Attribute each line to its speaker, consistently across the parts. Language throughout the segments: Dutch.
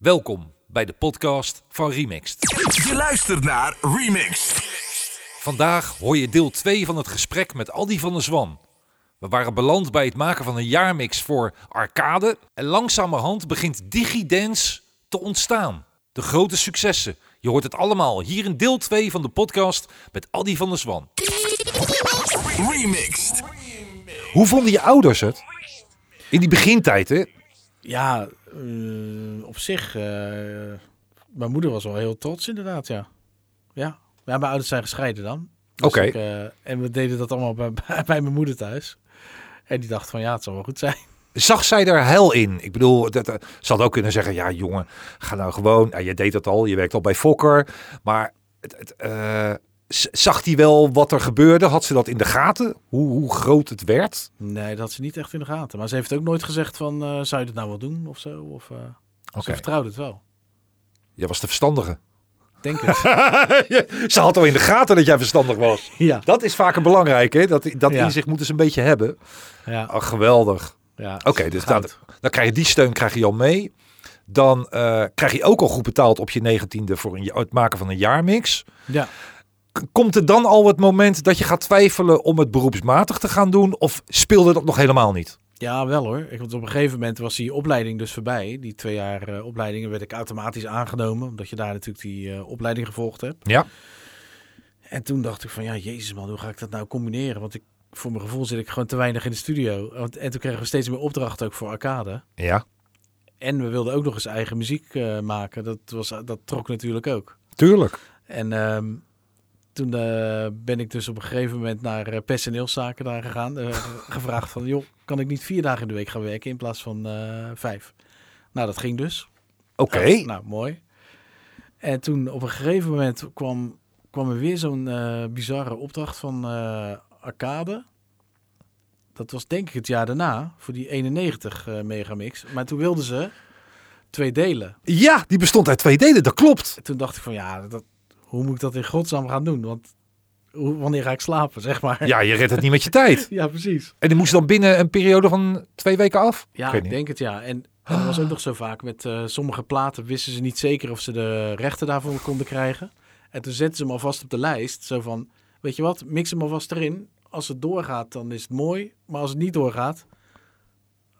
Speaker 1: Welkom bij de podcast van Remixed.
Speaker 2: Je luistert naar Remix.
Speaker 1: Vandaag hoor je deel 2 van het gesprek met Aldi van der Zwan. We waren beland bij het maken van een jaarmix voor Arcade en langzamerhand begint Digidance te ontstaan. De grote successen, je hoort het allemaal hier in deel 2 van de podcast met Aldi van der Zwan.
Speaker 2: Remixed.
Speaker 1: Hoe vonden je ouders het? In die begintijd, hè?
Speaker 3: Ja, eh, op zich. eh, mijn moeder was wel heel trots, inderdaad. Ja. ja. Ja, mijn ouders zijn gescheiden dan. Dus
Speaker 1: Oké.
Speaker 3: ik, eh, en we deden dat allemaal bij, bij, bij mijn moeder thuis. En die dacht van ja, het zal wel goed zijn.
Speaker 1: Zag zij daar hel in? Ik bedoel, dat, eh, ze had ook kunnen zeggen: ja, jongen, ga nou gewoon. Nou, je deed dat al, je werkt al bij Fokker. Maar het, het, eh, z- zag hij wel wat er gebeurde? Had ze dat in de gaten? Hoe, hoe groot het werd?
Speaker 3: Nee, dat had ze niet echt in de gaten. Maar ze heeft ook nooit gezegd van eh, zou je dat nou wel doen of zo. Of, eh, Ze
Speaker 1: Oké,
Speaker 3: vertrouwde het wel.
Speaker 1: jij was de verstandige.
Speaker 3: Ik Denk het.
Speaker 1: ze had al in de gaten dat jij verstandig was.
Speaker 3: ja.
Speaker 1: Dat is vaker belangrijk, hè? Dat, dat
Speaker 3: Ja.
Speaker 1: inzicht moeten ze een beetje hebben.
Speaker 3: ja,
Speaker 1: Ach, geweldig.
Speaker 3: ja
Speaker 1: Oké, dus
Speaker 3: Goud.
Speaker 1: dan, dan krijg je die steun krijg je al mee. Dan eh, krijg je ook al goed betaald op je negentiende voor een, ja- het maken van een jaarmix.
Speaker 3: Ja.
Speaker 1: K- Komt er dan al het moment dat je gaat twijfelen om het beroepsmatig te gaan doen? Of speelde dat nog helemaal niet?
Speaker 3: Ja, wel hoor. Ik, want op een gegeven moment was die opleiding dus voorbij. Die twee jaar eh, opleidingen werd ik automatisch aangenomen. Omdat je daar natuurlijk die eh, opleiding gevolgd hebt.
Speaker 1: Ja.
Speaker 3: En toen dacht ik van, ja, jezus man, hoe ga ik dat nou combineren? Want ik, voor mijn gevoel zit ik gewoon te weinig in de studio. Want- En toen kregen we steeds meer opdrachten ook voor Arcade.
Speaker 1: Ja,
Speaker 3: En we wilden ook nog eens eigen muziek eh, maken. Dat, was, dat trok natuurlijk ook.
Speaker 1: tuurlijk.
Speaker 3: En ehm, toen eh, ben ik dus op een gegeven moment naar eh, personeelszaken daar gegaan. eh, gevraagd van, joh, kan ik niet vier dagen in de week gaan werken in plaats van eh, vijf? Nou, dat ging dus.
Speaker 1: Oké.
Speaker 3: Ja, nou, mooi. En toen op een gegeven moment kwam, kwam er weer zo'n eh, bizarre opdracht van eh, Arcade. Dat was denk ik het jaar daarna, voor die 91 eh, megamix. Maar toen wilden ze twee delen.
Speaker 1: Ja, die bestond uit twee delen, dat klopt.
Speaker 3: En toen dacht ik van ja, dat, hoe moet ik dat in godsnaam gaan doen? Want hoe, wanneer ga ik slapen, zeg maar?
Speaker 1: Ja, je redt het niet met je tijd.
Speaker 3: Ja, precies.
Speaker 1: En die moest dan binnen een periode van twee weken af?
Speaker 3: Ja,
Speaker 1: Ik
Speaker 3: ik,
Speaker 1: weet niet.
Speaker 3: denk het ja. En, en dat was ook nog zo vaak met eh, sommige platen wisten ze niet zeker of ze de rechten daarvoor konden krijgen. En toen zetten ze hem alvast op de lijst. Zo van, weet je wat, mix hem alvast erin. Als het doorgaat, dan is het mooi. Maar als het niet doorgaat,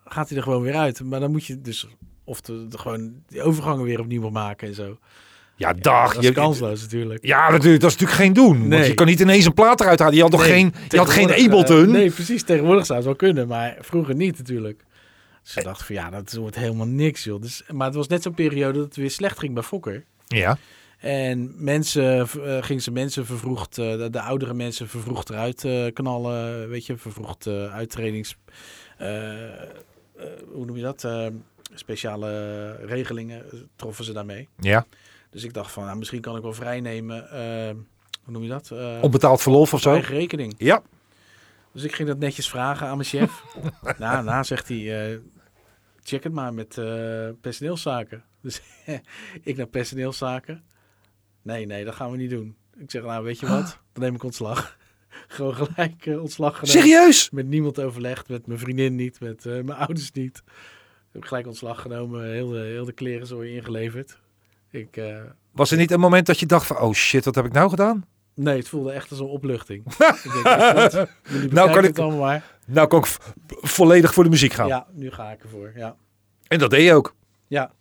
Speaker 3: gaat hij er gewoon weer uit. Maar dan moet je dus of de, de- gewoon die overgangen weer opnieuw maken en zo.
Speaker 1: Ja, dag.
Speaker 3: dat
Speaker 1: je-
Speaker 3: is kansloos natuurlijk.
Speaker 1: Ja, natuurlijk, dat is natuurlijk geen doen. Want
Speaker 3: Nee.
Speaker 1: je kan niet ineens een plaat eruit halen. Je had, nog
Speaker 3: Nee,
Speaker 1: geen, je had geen
Speaker 3: tegenwoordig,
Speaker 1: Ableton.
Speaker 3: eh, nee, precies. Tegenwoordig zou het wel kunnen, maar vroeger niet natuurlijk. Dus
Speaker 1: Eh.
Speaker 3: ik dacht van ja, dat wordt helemaal niks joh. Dus, maar het was net zo'n periode dat het weer slecht ging bij Fokker.
Speaker 1: Ja.
Speaker 3: En mensen, v- eh, gingen ze mensen vervroegd, eh, de, de oudere mensen vervroegd eruit eh, knallen. Weet je, vervroegd eh uittredings... eh, eh, hoe noem je dat? Eh, speciale regelingen eh, troffen ze daarmee.
Speaker 1: ja.
Speaker 3: Dus ik dacht van, nou, misschien kan ik wel vrijnemen. eh, hoe noem je dat? Eh,
Speaker 1: Onbetaald verlof of
Speaker 3: op
Speaker 1: zo.
Speaker 3: eigen rekening.
Speaker 1: Ja.
Speaker 3: Dus ik ging dat netjes vragen aan mijn chef. nou, nou zegt hij, eh, check het maar met eh, personeelszaken. Dus ik naar personeelszaken. Nee, nee, dat gaan we niet doen. Ik zeg, nou weet je wat, dan neem ik ontslag. Gewoon gelijk eh, ontslag genomen.
Speaker 1: Serieus?
Speaker 3: Met niemand overlegd, met mijn vriendin niet, met eh, mijn ouders niet. Heb ik gelijk ontslag genomen, heel de, heel de kleren zo ingeleverd. Ik, eh,
Speaker 1: Was er niet een moment dat je dacht van, oh shit, wat heb ik nou gedaan?
Speaker 3: nee, het voelde echt als een opluchting. ik denk, nou,
Speaker 1: Nou kan
Speaker 3: kan
Speaker 1: ik- Oh.
Speaker 3: ik... het allemaal maar.
Speaker 1: Nou kan ik v- volledig voor de muziek gaan.
Speaker 3: Ja, nu ga ik ervoor. Ja,
Speaker 1: En dat deed je ook.
Speaker 3: ja.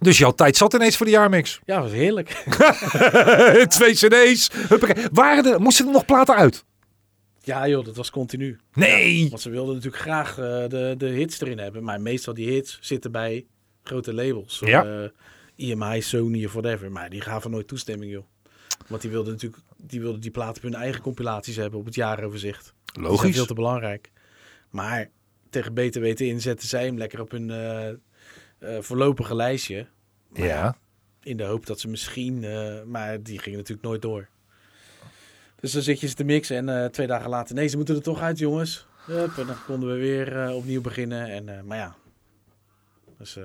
Speaker 1: Dus jouw tijd zat ineens voor de jaarmix.
Speaker 3: ja was heerlijk.
Speaker 1: Twee cd's. Huppakee. Waren er, moesten er nog platen uit?
Speaker 3: ja, joh, dat was continu.
Speaker 1: Nee.
Speaker 3: Want ze wilden natuurlijk graag eh, de, de hits erin hebben. Maar meestal die hits zitten bij grote labels.
Speaker 1: Ja.
Speaker 3: Eh, EMI, Sony of whatever. Maar die gaven nooit toestemming, joh. Want die wilden natuurlijk die, wilden die platen op hun eigen compilaties hebben op het jaaroverzicht. Dat is veel te belangrijk. Maar tegen beter weten in zetten zij hem lekker op hun eh, eh, voorlopige lijstje.
Speaker 1: Ja.
Speaker 3: In de hoop dat ze misschien... eh, maar die gingen natuurlijk nooit door. Dus dan zit je ze te mixen en eh, twee dagen later... Nee, ze moeten er toch uit, jongens. Hup, en dan konden we weer eh, opnieuw beginnen. En, eh, maar ja. Dus, eh,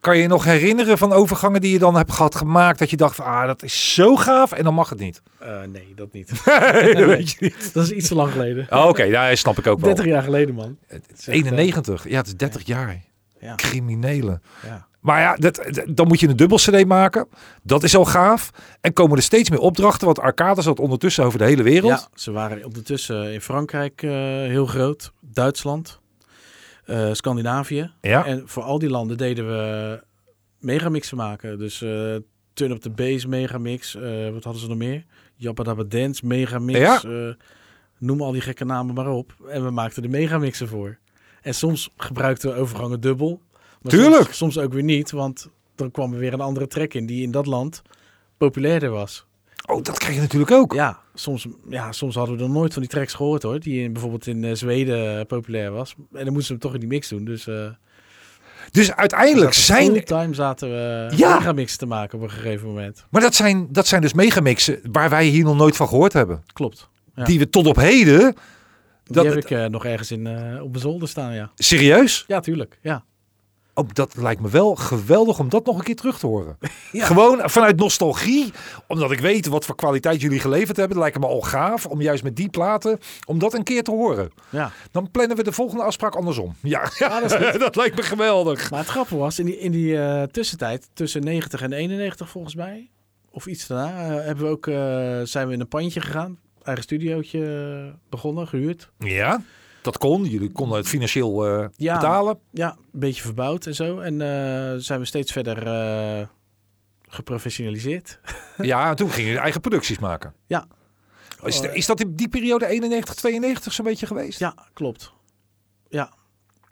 Speaker 1: Kan je je nog herinneren van overgangen die je dan hebt gehad gemaakt? Dat je dacht van, ah, dat is zo gaaf. En dan mag het niet.
Speaker 3: eh, nee, dat niet.
Speaker 1: Nee, dat weet je niet.
Speaker 3: dat is iets te lang geleden.
Speaker 1: Oh, Oké, daar snap ik ook wel.
Speaker 3: 30 jaar geleden, man.
Speaker 1: Het is 91. Ja, het is 30 jaar.
Speaker 3: Ja,
Speaker 1: Criminelen.
Speaker 3: ja.
Speaker 1: Maar ja, dat, dat- dan moet je een dubbel CD maken. Dat is al gaaf. En komen er steeds meer opdrachten, want Arcade zat ondertussen over de hele wereld.
Speaker 3: Ja, ze waren ondertussen in Frankrijk eh, heel groot, Duitsland, eh, Scandinavië.
Speaker 1: Ja.
Speaker 3: En voor al die landen deden we megamixen maken. Dus eh, Turn Up The Bass megamix, eh, wat hadden ze nog meer? Jabba Dabba Dance megamix,
Speaker 1: Ja.
Speaker 3: eh, noem al die gekke namen maar op. En we maakten de megamixen voor. En soms gebruikten we overgangen dubbel. Maar
Speaker 1: Tuurlijk.
Speaker 3: Soms, soms ook weer niet, want dan kwam er weer een andere track in die in dat land populairder was.
Speaker 1: Oh, dat krijg je natuurlijk ook.
Speaker 3: Ja, soms, ja, soms hadden we er nooit van die tracks gehoord hoor. Die in, bijvoorbeeld in eh, Zweden eh, populair was. En dan moesten ze hem toch in die mix doen. Dus eh
Speaker 1: Dus uiteindelijk zijn...
Speaker 3: time zaten we
Speaker 1: Ja.
Speaker 3: ja. mix eh, te maken op een gegeven moment.
Speaker 1: Maar dat zijn, dat zijn dus megamixen waar wij hier nog nooit van gehoord hebben.
Speaker 3: Klopt. Ja.
Speaker 1: Die we tot op heden...
Speaker 3: die
Speaker 1: Dat-
Speaker 3: heb ik eh, nog ergens in, eh, op mijn zolder staan, ja.
Speaker 1: Serieus?
Speaker 3: Ja, tuurlijk. Ja.
Speaker 1: Oh, dat lijkt me wel geweldig om dat nog een keer terug te horen. Gewoon vanuit nostalgie, omdat ik weet wat voor kwaliteit jullie geleverd hebben. Dat lijkt me al gaaf om juist met die platen, om dat een keer te horen.
Speaker 3: ja.
Speaker 1: Dan plannen we de volgende afspraak andersom. Ja, dat, lijkt me geweldig.
Speaker 3: Maar het grappige was, in die, in die eh, tussentijd, tussen 90 en 91 volgens mij, of iets daarna, eh, hebben we ook, eh, zijn we in een pandje gegaan. Eigen studiootje eh, begonnen, gehuurd.
Speaker 1: Ja, dat kon. Jullie konden het financieel eh,
Speaker 3: Ja.
Speaker 1: betalen.
Speaker 3: Ja, een beetje verbouwd en zo. En eh, zijn we steeds verder eh, geprofessionaliseerd.
Speaker 1: Ja, en toen gingen jullie eigen producties maken.
Speaker 3: Ja.
Speaker 1: Is, is dat in die periode 91, 92 zo'n beetje geweest?
Speaker 3: Ja, klopt. Ja,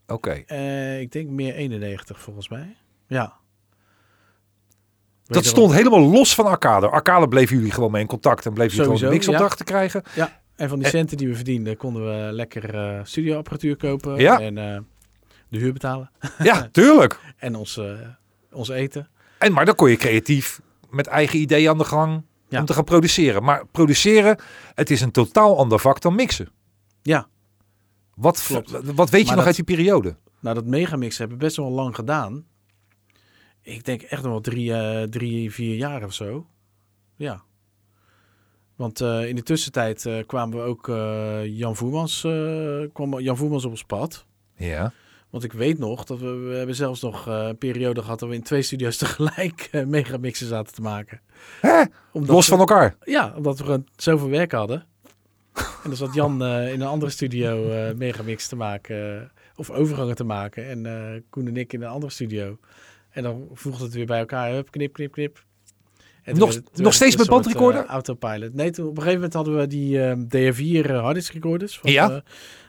Speaker 1: Oké.
Speaker 3: eh, ik denk meer 91 volgens mij. Ja.
Speaker 1: Dat stond helemaal los van Arcade. Arcade bleven jullie gewoon mee in contact en bleven jullie gewoon
Speaker 3: Sowieso,
Speaker 1: niks
Speaker 3: ja.
Speaker 1: opdrachten krijgen.
Speaker 3: Ja, en van die
Speaker 1: En-
Speaker 3: centen die we verdienden konden we lekker eh, studioapparatuur kopen.
Speaker 1: Ja.
Speaker 3: En eh, de huur betalen.
Speaker 1: Ja, tuurlijk.
Speaker 3: En ons, eh, ons eten.
Speaker 1: En, maar dan kon je creatief met eigen ideeën aan de gang
Speaker 3: Ja.
Speaker 1: om te gaan produceren. Maar produceren, het is een totaal ander vak dan mixen.
Speaker 3: Ja.
Speaker 1: Wat, v-
Speaker 3: Klopt.
Speaker 1: wat weet je nog
Speaker 3: dat-
Speaker 1: uit die periode?
Speaker 3: Nou, dat megamix hebben we best wel lang gedaan. Ik denk echt nog wel drie, eh, drie vier jaar of zo. Ja. Want eh, in de tussentijd eh, kwamen we ook eh, Jan Voermans, eh, kwam Jan Voermans op ons pad.
Speaker 1: Ja.
Speaker 3: Want ik weet nog dat we, we hebben zelfs nog eh, een periode gehad dat we in twee studio's tegelijk eh, megamixen zaten te maken.
Speaker 1: Hè?
Speaker 3: Omdat
Speaker 1: Los
Speaker 3: we-
Speaker 1: van elkaar.
Speaker 3: Ja, omdat we gewoon zoveel werk hadden. En dan zat Jan eh, in een andere studio eh megamix te maken. eh, of overgangen te maken. En eh, Koen en ik in een andere studio. En dan voegde het weer bij elkaar. Hup, knip, knip, knip. En toen
Speaker 1: Nog-
Speaker 3: werd het- toen
Speaker 1: nog
Speaker 3: werd
Speaker 1: steeds
Speaker 3: het een
Speaker 1: met
Speaker 3: soort,
Speaker 1: bandrecorder?
Speaker 3: eh, autopilot. Nee, toen, op een gegeven moment hadden we die eh, DR4 eh, harddisk recorders van
Speaker 1: Ja.
Speaker 3: eh,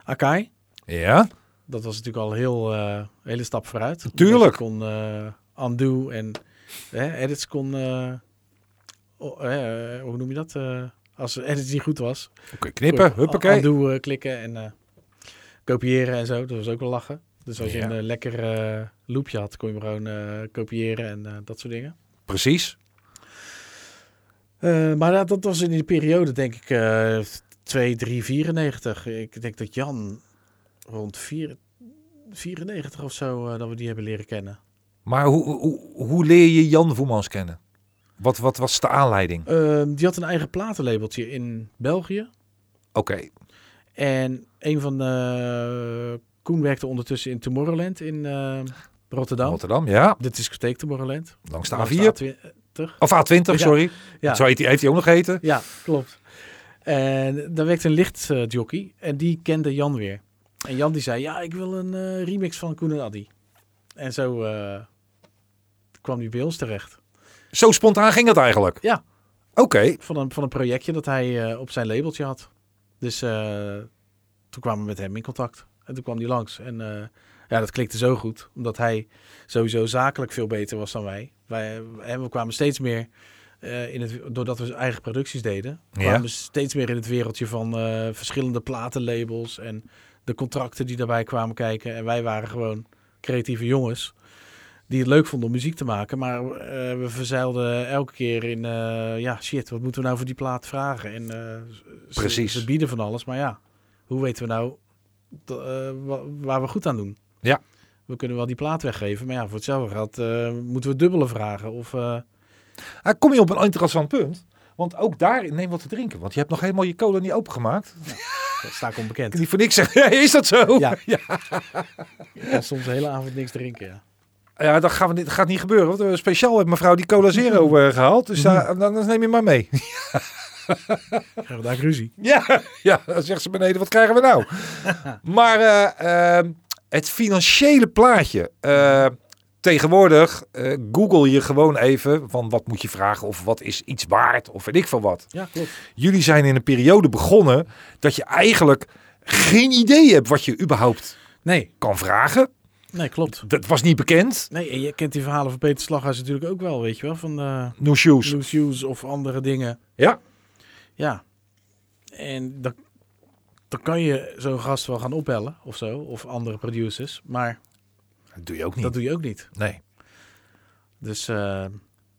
Speaker 3: Akai.
Speaker 1: Ja.
Speaker 3: Dat was natuurlijk al een heel, eh, hele stap vooruit. Omdat
Speaker 1: Tuurlijk.
Speaker 3: Je kon eh undo en hè, edits kon... eh, o- eh, hoe noem je dat? Eh, als edits niet goed was.
Speaker 1: Oké, knippen.
Speaker 3: kon je
Speaker 1: Huppakee.
Speaker 3: Undo eh, klikken en eh, kopiëren en zo. Dat was ook wel lachen. Dus als je
Speaker 1: Ja.
Speaker 3: een eh, lekker eh, loopje had, kon je hem gewoon eh, kopiëren en eh, dat soort dingen.
Speaker 1: Precies.
Speaker 3: Eh, maar dat, dat was in die periode, denk ik, eh 2, 3, 94. Ik denk dat Jan rond 4, 94 of zo eh, dat we die hebben leren kennen.
Speaker 1: Maar hoe, hoe, hoe leer je Jan Voemans kennen? Wat, wat was de aanleiding?
Speaker 3: Eh, die had een eigen platenlabeltje in België.
Speaker 1: Oké.
Speaker 3: En een van de... Koen werkte ondertussen in Tomorrowland in eh, Rotterdam.
Speaker 1: Rotterdam, ja.
Speaker 3: De discotheek Tomorrowland.
Speaker 1: Langs de
Speaker 3: Langs
Speaker 1: A4.
Speaker 3: de A20.
Speaker 1: Of A20, sorry.
Speaker 3: Ja.
Speaker 1: Zo heet hij, heeft hij ook nog geheten.
Speaker 3: Ja, klopt. En daar werkte een lichtjockey en die kende Jan weer. En Jan die zei, ja, ik wil een eh, remix van Koen en Addy. En zo eh, kwam hij bij ons terecht.
Speaker 1: Zo spontaan ging dat eigenlijk.
Speaker 3: Ja.
Speaker 1: Oké.
Speaker 3: Van een, van een projectje dat hij eh, op zijn labeltje had. Dus eh, toen kwamen we met hem in contact. En toen kwam hij langs. En eh, ja, dat klikte zo goed. Omdat hij sowieso zakelijk veel beter was dan wij. wij eh, en we kwamen steeds meer, eh, in het, doordat we eigen producties deden... kwamen
Speaker 1: Ja.
Speaker 3: we steeds meer in het wereldje van eh, verschillende platenlabels... en de contracten die daarbij kwamen kijken. En wij waren gewoon creatieve jongens... Die het leuk vonden om muziek te maken. Maar eh, we verzeilden elke keer in... eh, ja, shit, wat moeten we nou voor die plaat vragen? En eh, ze-
Speaker 1: Precies.
Speaker 3: Ze, bieden van alles, maar ja, hoe weten we nou d- eh, wa- waar we goed aan doen?
Speaker 1: Ja.
Speaker 3: We kunnen wel die plaat weggeven, maar ja, voor hetzelfde geld eh, moeten we dubbele vragen. Of, eh,
Speaker 1: Ah, kom je op een interessant punt. Want ook daar neem wat te drinken. Want je hebt nog helemaal je cola niet opengemaakt.
Speaker 3: dat sta ik
Speaker 1: Ik
Speaker 3: onbekend. Oh,
Speaker 1: kan niet voor niks zeggen. Is dat zo?
Speaker 3: Ja. Ik kan soms de hele avond niks drinken, ja.
Speaker 1: Ja, dat, gaan we, niet- gaat niet gebeuren. Want eh, speciaal heeft mevrouw die Cola Zero eh, gehaald.
Speaker 3: Mhm.
Speaker 1: Dus daar, dan, dan neem je maar mee.
Speaker 3: Krijgen we daar ruzie.
Speaker 1: Ja, ja, dan zegt ze beneden, wat krijgen we nou? maar eh, eh, het financiële plaatje. eh, tegenwoordig eh, google je gewoon even van wat moet je vragen of wat is iets waard of weet ik van wat.
Speaker 3: Ja, klopt.
Speaker 1: Jullie zijn in een periode begonnen dat je eigenlijk geen idee hebt wat je überhaupt
Speaker 3: Nee,
Speaker 1: kan vragen.
Speaker 3: nee, klopt.
Speaker 1: Dat was niet bekend.
Speaker 3: Nee, en je kent die verhalen van Peter Slaghuis natuurlijk ook wel, weet je wel. Van eh
Speaker 1: No shoes.
Speaker 3: Blue Shoes of andere dingen.
Speaker 1: Ja.
Speaker 3: Ja. En dan, dan kan je zo'n gast wel gaan ophellen of zo. Of andere producers. Maar
Speaker 1: Dat doe je ook
Speaker 3: dat
Speaker 1: niet.
Speaker 3: doe je ook niet.
Speaker 1: Nee.
Speaker 3: Dus, eh,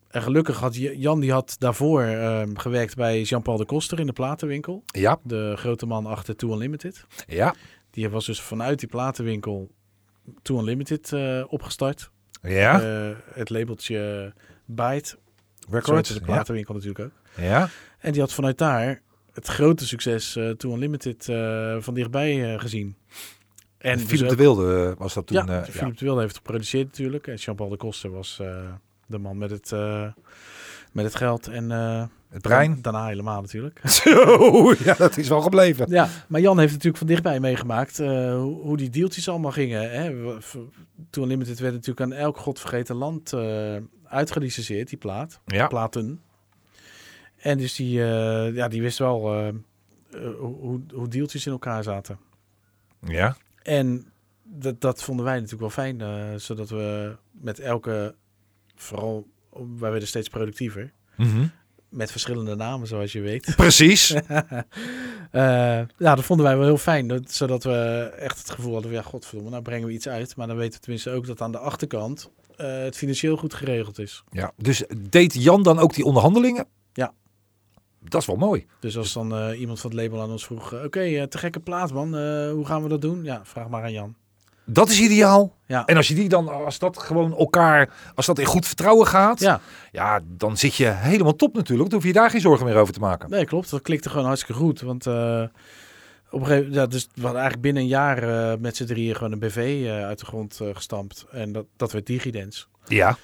Speaker 3: en gelukkig had J- Jan, die had daarvoor eh, gewerkt bij Jean-Paul de Koster in de platenwinkel.
Speaker 1: Ja,
Speaker 3: De grote man achter Too Unlimited.
Speaker 1: ja,
Speaker 3: Die was dus vanuit die platenwinkel Too Unlimited eh, opgestart.
Speaker 1: ja.
Speaker 3: Eh, het labeltje Byte. Zo
Speaker 1: Records.
Speaker 3: heette de
Speaker 1: Ja,
Speaker 3: platenwinkel natuurlijk ook.
Speaker 1: ja.
Speaker 3: En die had vanuit daar het grote succes eh Too Unlimited eh, van dichtbij eh, gezien.
Speaker 1: En
Speaker 3: dus
Speaker 1: Philip de
Speaker 3: ook-
Speaker 1: Wilde was dat toen.
Speaker 3: ja,
Speaker 1: eh, ja.
Speaker 3: Philip de Wilde heeft het geproduceerd natuurlijk. En Jean-Paul de Koster was eh, de man met het, eh, met het geld en... eh,
Speaker 1: Het brein.
Speaker 3: Dan- Daarna helemaal natuurlijk.
Speaker 1: Zo, Oh, ja, dat is wel gebleven.
Speaker 3: Ja, maar Jan heeft natuurlijk van dichtbij meegemaakt eh, hoe, hoe die deeltjes allemaal gingen. Hè? We- v- Toen Limited werd natuurlijk aan elk godvergeten land eh uitgelicenseerd, die plaat.
Speaker 1: Ja,
Speaker 3: Platen. En dus die, eh, ja, die wist wel eh, eh, hoe, hoe- hoe deeltjes in elkaar zaten.
Speaker 1: ja,
Speaker 3: En dat, dat vonden wij natuurlijk wel fijn, eh, zodat we met elke, vooral, wij werden steeds productiever. Met verschillende namen, zoals je weet.
Speaker 1: Mhm. precies.
Speaker 3: Eh, ja, dat vonden wij wel heel fijn. Dat, zodat we echt het gevoel hadden van... ja, godverdomme, nou brengen we iets uit. Maar dan weten we tenminste ook dat aan de achterkant... eh, het financieel goed geregeld is.
Speaker 1: Ja. Dus deed Jan dan ook die onderhandelingen?
Speaker 3: Ja.
Speaker 1: Dat is wel mooi.
Speaker 3: Dus als dan eh, iemand van het label aan ons vroeg... eh, oké, eh, te gekke plaat, man. eh, hoe gaan we dat doen? Ja, vraag maar aan Jan.
Speaker 1: Dat is ideaal.
Speaker 3: Ja.
Speaker 1: En als je die dan, als dat gewoon elkaar, als dat in goed vertrouwen gaat,
Speaker 3: Ja,
Speaker 1: ja, dan zit je helemaal top natuurlijk. Dan hoef je daar geen zorgen meer over te maken.
Speaker 3: nee, klopt. Dat klikte gewoon hartstikke goed. Want eh, op een gegeven moment... Ja, dus we hadden eigenlijk binnen een jaar eh, met z'n drieën... gewoon een BV eh, uit de grond eh, gestampt. En dat, dat werd Digidens.
Speaker 1: Ja.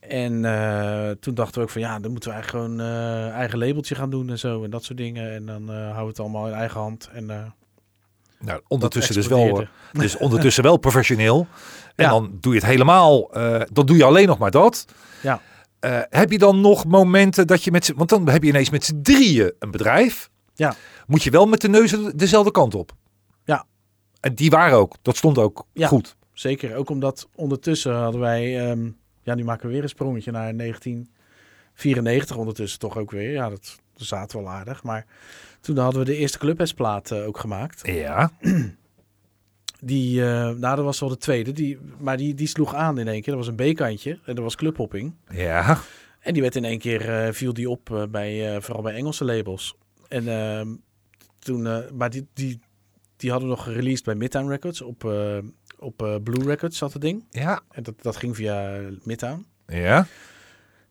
Speaker 3: En eh, toen dachten we ook van ja, dan moeten we eigenlijk gewoon eh, eigen labeltje gaan doen en zo en dat soort dingen. En dan eh, houden we het allemaal in eigen hand. En, eh,
Speaker 1: Nou,
Speaker 3: dat
Speaker 1: ondertussen dus wel,
Speaker 3: explodeerde.
Speaker 1: eh, dus ondertussen wel professioneel. En
Speaker 3: Ja.
Speaker 1: dan doe je het helemaal, eh, dan doe je alleen nog maar dat.
Speaker 3: Ja.
Speaker 1: Eh, heb je dan nog momenten dat je met z'n, want dan heb je ineens met z'n drieën een bedrijf.
Speaker 3: Ja.
Speaker 1: Moet je wel met de neus dezelfde kant op.
Speaker 3: Ja.
Speaker 1: En die waren ook, dat stond ook
Speaker 3: Ja.
Speaker 1: goed.
Speaker 3: Zeker, ook omdat ondertussen hadden wij, ehm, ja nu maken we weer een sprongetje naar 1994 ondertussen toch ook weer. Ja, dat zaten wel aardig. Maar toen hadden we de eerste clubhesplaat ook gemaakt.
Speaker 1: Ja.
Speaker 3: Die, eh, nou dat was wel de tweede, die, maar die, die sloeg aan in één keer. Dat was een B-kantje en dat was clubhopping.
Speaker 1: Ja.
Speaker 3: En die werd in één keer, eh, viel die op, eh, bij, eh, vooral bij Engelse labels. En ehm, toen, eh, maar die, die, die hadden we nog gereleased bij Midtown Records. Op, eh, op eh, Blue Records zat het ding.
Speaker 1: Ja.
Speaker 3: En dat, dat ging via eh, Midtown.
Speaker 1: Ja.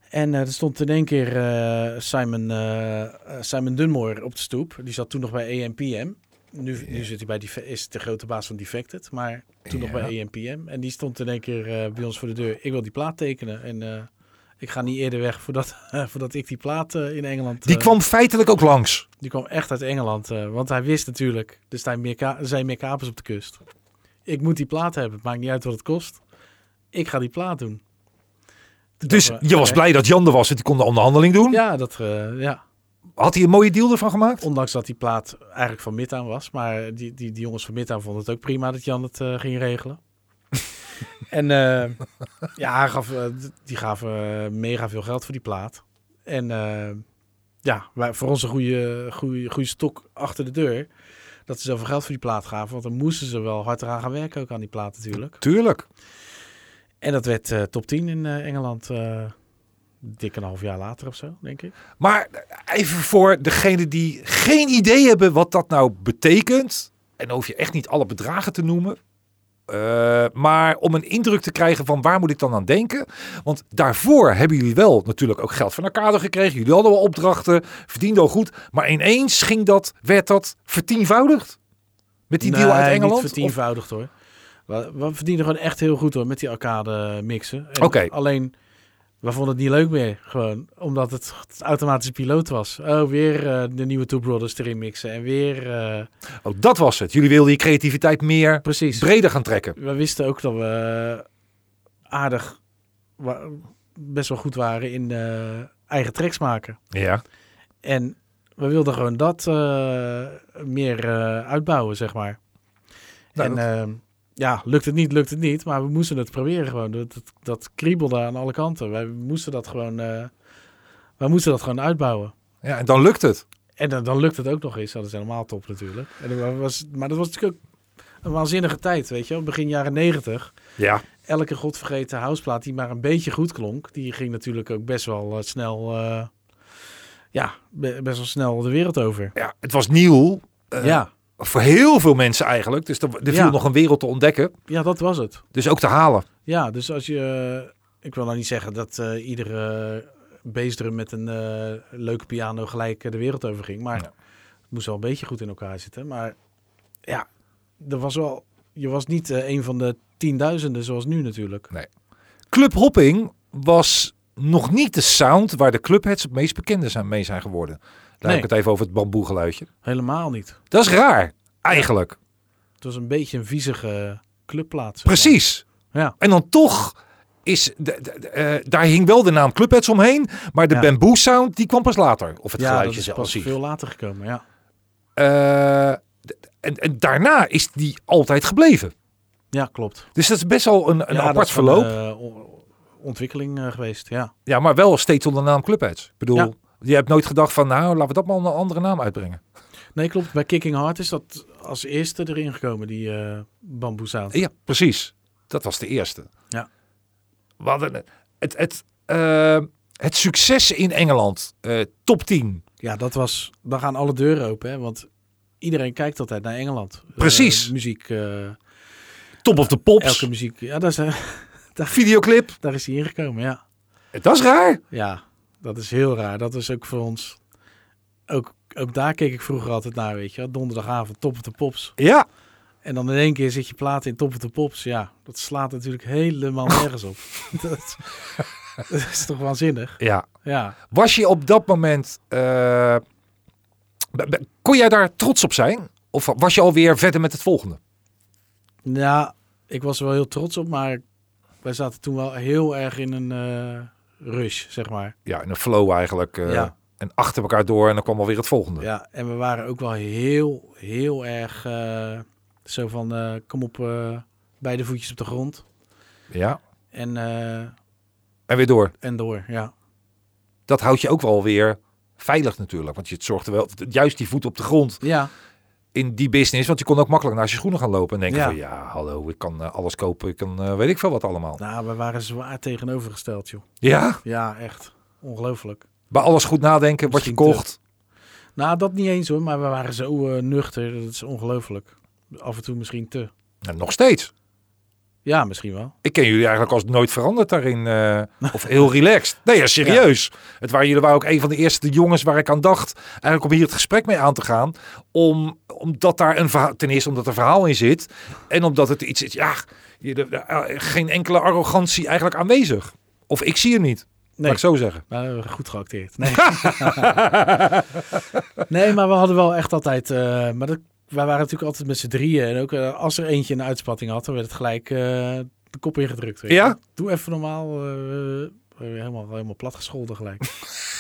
Speaker 3: En eh, er stond in één keer eh, Simon, eh, eh, Simon Dunmore op de stoep. Die zat toen nog bij AMPM. Nu, nu zit hij bij Def- is de grote baas van Defected, maar toen nog
Speaker 1: Ja.
Speaker 3: bij AMPM. En die stond in één keer eh, bij ons voor de deur. Ik wil die plaat tekenen en eh, ik ga niet eerder weg voordat, voordat ik die plaat eh, in Engeland...
Speaker 1: Die
Speaker 3: eh,
Speaker 1: kwam feitelijk ook langs.
Speaker 3: die kwam echt uit Engeland, eh, want hij wist natuurlijk, er zijn meer, ka- er zijn meer kapers op de kust. Ik moet die plaat hebben, het maakt niet uit wat het kost. Ik ga die plaat doen. eh, Toen
Speaker 1: Dus
Speaker 3: dachten we,
Speaker 1: je was
Speaker 3: oké.
Speaker 1: blij dat Jan er was en die kon de onderhandeling doen.
Speaker 3: Ja, dat, eh, ja,
Speaker 1: Had hij een mooie deal ervan gemaakt?
Speaker 3: Ondanks dat die plaat eigenlijk van Midtown was. Maar die, die, die jongens van Midtown vonden het ook prima dat Jan het eh, ging regelen. en eh, ja, hij gaf, eh, d- die gaven eh, mega veel geld voor die plaat. En eh, ja, wij, voor ons een goede, goede, goede stok achter de deur. Dat ze zoveel geld voor die plaat gaven. Want dan moesten ze wel hard eraan gaan werken ook aan die plaat natuurlijk.
Speaker 1: Tuurlijk.
Speaker 3: En dat werd eh, top 10 in eh, Engeland. eh, dik een half jaar later of zo, denk ik.
Speaker 1: Maar even voor degene die geen idee hebben wat dat nou betekent. En dan hoef je echt niet alle bedragen te noemen. Eh, maar om een indruk te krijgen van waar moet ik dan aan denken. Want daarvoor hebben jullie wel natuurlijk ook geld van elkaar gekregen. Jullie hadden wel opdrachten, verdienden al goed. Maar ineens ging dat, werd dat vertienvoudigd. Met die deal
Speaker 3: Nee,
Speaker 1: uit Engeland.
Speaker 3: Niet vertienvoudigd hoor. We, we verdienen gewoon echt heel goed hoor met die arcade mixen. En
Speaker 1: Oké.
Speaker 3: Alleen, we vonden het niet leuk meer. Gewoon omdat het automatische piloot was. Oh, weer eh, de nieuwe Two Brothers erin mixen. En weer. eh,
Speaker 1: Oh, dat was het. Jullie wilden je creativiteit meer
Speaker 3: precies.
Speaker 1: breder gaan trekken.
Speaker 3: we wisten ook dat we aardig. wa- best wel goed waren in eh, eigen tracks maken.
Speaker 1: Ja.
Speaker 3: En we wilden gewoon dat eh, meer eh, uitbouwen, zeg maar.
Speaker 1: Nou,
Speaker 3: en
Speaker 1: dat-
Speaker 3: ehm, ja, lukt het niet, lukt het niet. Maar we moesten het proberen gewoon. Dat, dat, dat kriebelde aan alle kanten. Wij moesten dat gewoon, eh, wij moesten dat gewoon uitbouwen.
Speaker 1: ja. En dan lukt het.
Speaker 3: En dan, dan lukt het ook nog eens. Dat is helemaal top natuurlijk. En dat was, maar dat was natuurlijk ook een waanzinnige tijd, weet je wel. Begin jaren negentig.
Speaker 1: Ja.
Speaker 3: Elke godvergeten houseplaat die maar een beetje goed klonk... die ging natuurlijk ook best wel eh, snel... eh, ja, be- best wel snel de wereld over.
Speaker 1: ja. Het was nieuw. eh,
Speaker 3: ja.
Speaker 1: Voor heel veel mensen eigenlijk. Dus er, er viel
Speaker 3: Ja.
Speaker 1: nog een wereld te ontdekken.
Speaker 3: ja, dat was het.
Speaker 1: Dus ook te halen.
Speaker 3: Ja, dus als je... eh, Ik wil nou niet zeggen dat eh, iedere bassdrum met een eh, leuke piano gelijk eh, de wereld over ging. Maar
Speaker 1: Ja.
Speaker 3: het moest wel een beetje goed in elkaar zitten. Maar ja, er was wel, je was niet eh, een van de tienduizenden zoals nu natuurlijk.
Speaker 1: Clubhopping was nog niet de sound waar de clubheads het meest bekende zijn, mee zijn geworden. Daar
Speaker 3: Nee.
Speaker 1: heb ik het even over het bamboegeluidje.
Speaker 3: Helemaal niet.
Speaker 1: Dat is raar, eigenlijk.
Speaker 3: Het was een beetje een viezige clubplaats. zeg maar.
Speaker 1: Precies.
Speaker 3: Ja.
Speaker 1: En dan toch is, de- de- de- eh, daar hing wel de naam clubheads omheen, maar de
Speaker 3: Ja.
Speaker 1: bamboe sound die kwam pas later. Of het
Speaker 3: Ja, dat
Speaker 1: geluidje
Speaker 3: is
Speaker 1: zelf.
Speaker 3: pas veel later gekomen, ja.
Speaker 1: Eh, d- en, en daarna is die altijd gebleven.
Speaker 3: Ja, klopt.
Speaker 1: Dus dat is best wel een, een
Speaker 3: Ja, dat
Speaker 1: apart
Speaker 3: is een,
Speaker 1: verloop.
Speaker 3: eh, o- ontwikkeling eh, geweest, ja.
Speaker 1: Ja, maar wel steeds onder de naam clubheads. Ik bedoel,
Speaker 3: Ja.
Speaker 1: je hebt nooit gedacht van nou, laten we dat maar onder een andere naam uitbrengen.
Speaker 3: Nee, klopt. Bij Kicking Hard is dat als eerste erin gekomen, die eh bamboe sound.
Speaker 1: Ja, precies. Dat was de eerste.
Speaker 3: Ja.
Speaker 1: We hadden het, het, eh, het succes in Engeland, eh, top 10.
Speaker 3: Ja, dat was. Dan gaan alle deuren open, hè? Want iedereen kijkt altijd naar Engeland.
Speaker 1: Precies.
Speaker 3: Eh, muziek. eh,
Speaker 1: Top of de pops,
Speaker 3: elke muziek. Ja, daar is, eh,
Speaker 1: videoclip.
Speaker 3: daar is hij ingekomen, ja.
Speaker 1: Dat is raar.
Speaker 3: Ja, dat is heel raar. Dat is ook voor ons. Ook, ook daar keek ik vroeger altijd naar, weet je. wel. Donderdagavond, top of the pops.
Speaker 1: Ja,
Speaker 3: En dan in één keer zit je plaat in top of the pops. Ja, dat slaat natuurlijk helemaal nergens op. dat, dat is toch waanzinnig?
Speaker 1: ja.
Speaker 3: Ja.
Speaker 1: Was je op dat moment, eh, b- b- kon jij daar trots op zijn? Of was je alweer verder met het volgende?
Speaker 3: Ja, ik was er wel heel trots op, maar wij zaten toen wel heel erg in een eh, rush, zeg maar.
Speaker 1: Ja, in een flow eigenlijk. eh,
Speaker 3: Ja.
Speaker 1: En achter elkaar door en dan kwam alweer het volgende.
Speaker 3: Ja, en we waren ook wel heel, heel erg eh, zo van, eh, kom op, eh, beide voetjes op de grond
Speaker 1: Ja.
Speaker 3: en, eh,
Speaker 1: En weer door.
Speaker 3: en door, ja.
Speaker 1: Dat houdt je ook wel weer veilig natuurlijk. Want je zorgt er wel, juist die voet op de grond
Speaker 3: Ja,
Speaker 1: in die business. Want je kon ook makkelijk naast je schoenen gaan lopen en denken
Speaker 3: Ja.
Speaker 1: van ja, hallo, ik kan eh, alles kopen. Ik kan eh, weet ik veel wat allemaal.
Speaker 3: nou, we waren zwaar tegenovergesteld, joh.
Speaker 1: Ja,
Speaker 3: Ja, echt. Ongelooflijk.
Speaker 1: bij alles goed nadenken wat je
Speaker 3: Misschien te-
Speaker 1: kocht.
Speaker 3: Nou, dat niet eens hoor, maar we waren zo eh, nuchter, dat is ongelooflijk. Af en toe misschien te.
Speaker 1: En Nou, nog steeds.
Speaker 3: Ja, misschien wel.
Speaker 1: Ik ken jullie eigenlijk als nooit veranderd daarin. eh, of heel relaxed. Nee, ja, serieus. Het waren, jullie waren ook een van de eerste jongens waar ik aan dacht. Eigenlijk om hier het gesprek mee aan te gaan. Om, omdat daar een verhaal, ten eerste omdat er verhaal in zit. En omdat het iets is, ja, je- de- de- eh, geen enkele arrogantie eigenlijk aanwezig. Of ik zie hem niet,
Speaker 3: Nee.
Speaker 1: laat ik zo zeggen.
Speaker 3: Nou, dat hebben we goed geacteerd. Nee. nee, maar we hadden wel echt altijd... eh, maar dat, wij waren natuurlijk altijd met z'n drieën. En ook eh, als er eentje een uitspatting had, dan werd het gelijk eh, de kop ingedrukt. weet je.
Speaker 1: Ja?
Speaker 3: Doe even normaal. eh, eh, helemaal, helemaal plat gescholden gelijk.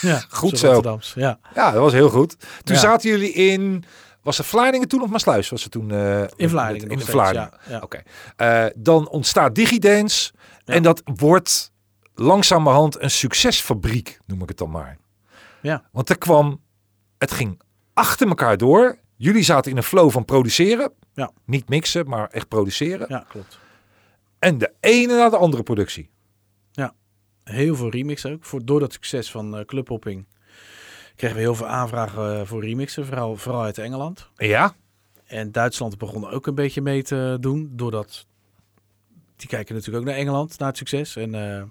Speaker 3: ja,
Speaker 1: Goed zo.
Speaker 3: Rotterdams, Ja.
Speaker 1: Ja, dat was heel goed. Toen
Speaker 3: Ja.
Speaker 1: zaten jullie in... Was het Vlaardingen toen of Maasluis? Was het toen... eh,
Speaker 3: In
Speaker 1: met-
Speaker 3: Vlaardingen
Speaker 1: In
Speaker 3: nog steeds,
Speaker 1: Vlaardingen.
Speaker 3: Ja, ja.
Speaker 1: Oké. Eh, dan ontstaat DigiDance.
Speaker 3: Ja.
Speaker 1: En dat wordt langzamerhand een succesfabriek, noem ik het dan maar.
Speaker 3: Ja.
Speaker 1: Want er kwam... Het ging achter elkaar door. Jullie zaten in een flow van produceren.
Speaker 3: Ja.
Speaker 1: Niet mixen, maar echt produceren.
Speaker 3: ja, klopt.
Speaker 1: En de ene na de andere productie.
Speaker 3: Heel veel remix ook. Voor, door dat succes van eh, clubhopping kregen we heel veel aanvragen eh, voor remixen. Vooral, vooral uit Engeland.
Speaker 1: Ja?
Speaker 3: En Duitsland begon ook een beetje mee te doen. Doordat die kijken natuurlijk ook naar Engeland, naar het succes. En eh,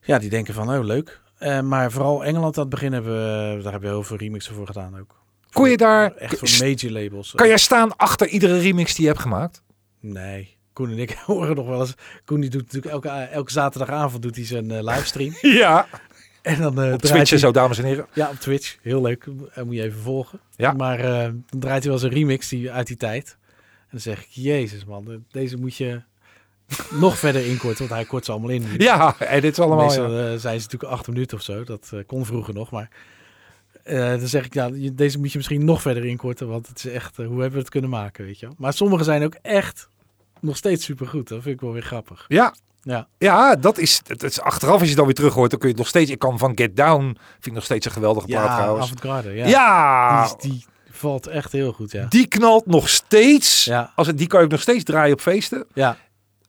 Speaker 3: ja, die denken van, oh leuk. Eh, maar vooral Engeland aan het begin hebben we, daar hebben we heel veel remixen voor gedaan ook.
Speaker 1: Kon je daar...
Speaker 3: Echt
Speaker 1: st-
Speaker 3: voor major labels.
Speaker 1: kan jij staan achter iedere remix die je hebt gemaakt?
Speaker 3: Nee, Koen en ik horen nog wel eens. Koen die doet natuurlijk elke, elke zaterdagavond doet hij zijn eh, livestream.
Speaker 1: Ja,
Speaker 3: en dan eh, draait
Speaker 1: Twitch en
Speaker 3: hij-
Speaker 1: zo, dames en heren.
Speaker 3: Ja, op Twitch. Heel leuk. En moet je even volgen.
Speaker 1: Ja.
Speaker 3: Maar eh, dan draait hij wel eens een remix die, uit die tijd. En dan zeg ik, jezus man, deze moet je nog verder inkorten. Want hij kort ze allemaal in.
Speaker 1: Ja, en dit is allemaal...
Speaker 3: Meestal
Speaker 1: ja.
Speaker 3: eh, zijn ze natuurlijk acht minuten of zo. Dat eh, kon vroeger nog, maar... eh, dan zeg ik, ja, je- deze moet je misschien nog verder inkorten. Want het is echt, eh, hoe hebben we het kunnen maken, weet je wel. Maar sommige zijn ook echt nog steeds supergoed. Dat vind ik wel weer grappig.
Speaker 1: Ja.
Speaker 3: Ja.
Speaker 1: Ja, dat is, het is achteraf als je het dan weer terug hoort, dan kun je het nog steeds. Ik kan van Get Down, vind ik nog steeds een geweldige plaat trouwens.
Speaker 3: avant-garde, ja.
Speaker 1: Ja,
Speaker 3: Die, is- die valt echt heel goed, ja.
Speaker 1: die knalt nog steeds.
Speaker 3: Ja,
Speaker 1: Als het, die kan ik nog steeds draaien op feesten.
Speaker 3: ja.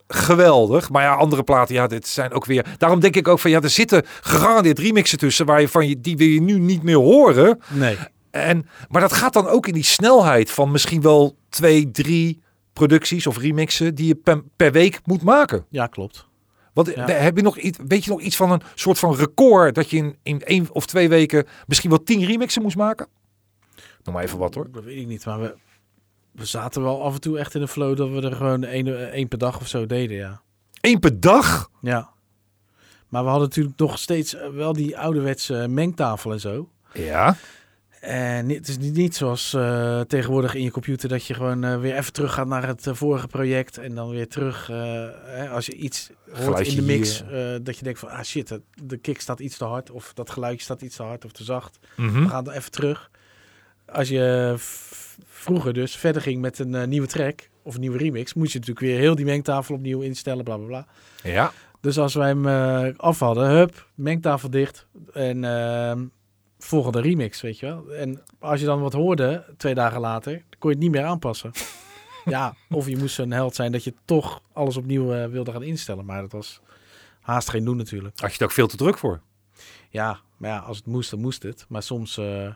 Speaker 1: Geweldig. Maar ja, andere platen, ja, dit zijn ook weer. Daarom denk ik ook van, ja, er zitten gegarandeerd remixen tussen waar je van je, die wil je nu niet meer horen.
Speaker 3: Nee.
Speaker 1: En, maar dat gaat dan ook in die snelheid van misschien wel twee, drie producties of remixen die je per, per week moet maken.
Speaker 3: Ja, klopt.
Speaker 1: Want
Speaker 3: Ja.
Speaker 1: eh, heb je nog iets, weet je nog iets van een soort van record dat je in, in één of twee weken misschien wel tien remixen moest maken? Noem maar even wat hoor.
Speaker 3: Dat weet ik niet, maar we, we zaten wel af en toe echt in de flow dat we er gewoon één, één per dag of zo deden, ja.
Speaker 1: Eén per dag?
Speaker 3: Ja. Maar we hadden natuurlijk nog steeds eh, wel die ouderwetse eh, mengtafel en zo.
Speaker 1: Ja.
Speaker 3: En het is niet, niet zoals eh, tegenwoordig in je computer dat je gewoon eh, weer even terug gaat naar het eh, vorige project en dan weer terug. eh, hè, als je iets hoort
Speaker 1: Geluidje
Speaker 3: in de mix,
Speaker 1: hier.
Speaker 3: eh, dat je denkt van ah shit, dat- de kick staat iets te hard of dat geluidje staat iets te hard of te zacht.
Speaker 1: Hm?
Speaker 3: We gaan er even terug. Als je v- vroeger dus verder ging met een eh, nieuwe track of een nieuwe remix, moest je natuurlijk weer heel die mengtafel opnieuw instellen, bla bla bla.
Speaker 1: Ja.
Speaker 3: Dus als wij hem eh, af hadden, hup, mengtafel dicht en ehm, volgende remix, weet je wel. En als je dan wat hoorde, twee dagen later, dan kon je het niet meer aanpassen. ja, of je moest zo'n held zijn dat je toch alles opnieuw eh, wilde gaan instellen. Maar dat was haast geen doen natuurlijk.
Speaker 1: Had je het ook veel te druk voor?
Speaker 3: Ja, maar ja, als het moest, dan moest het. Maar soms eh,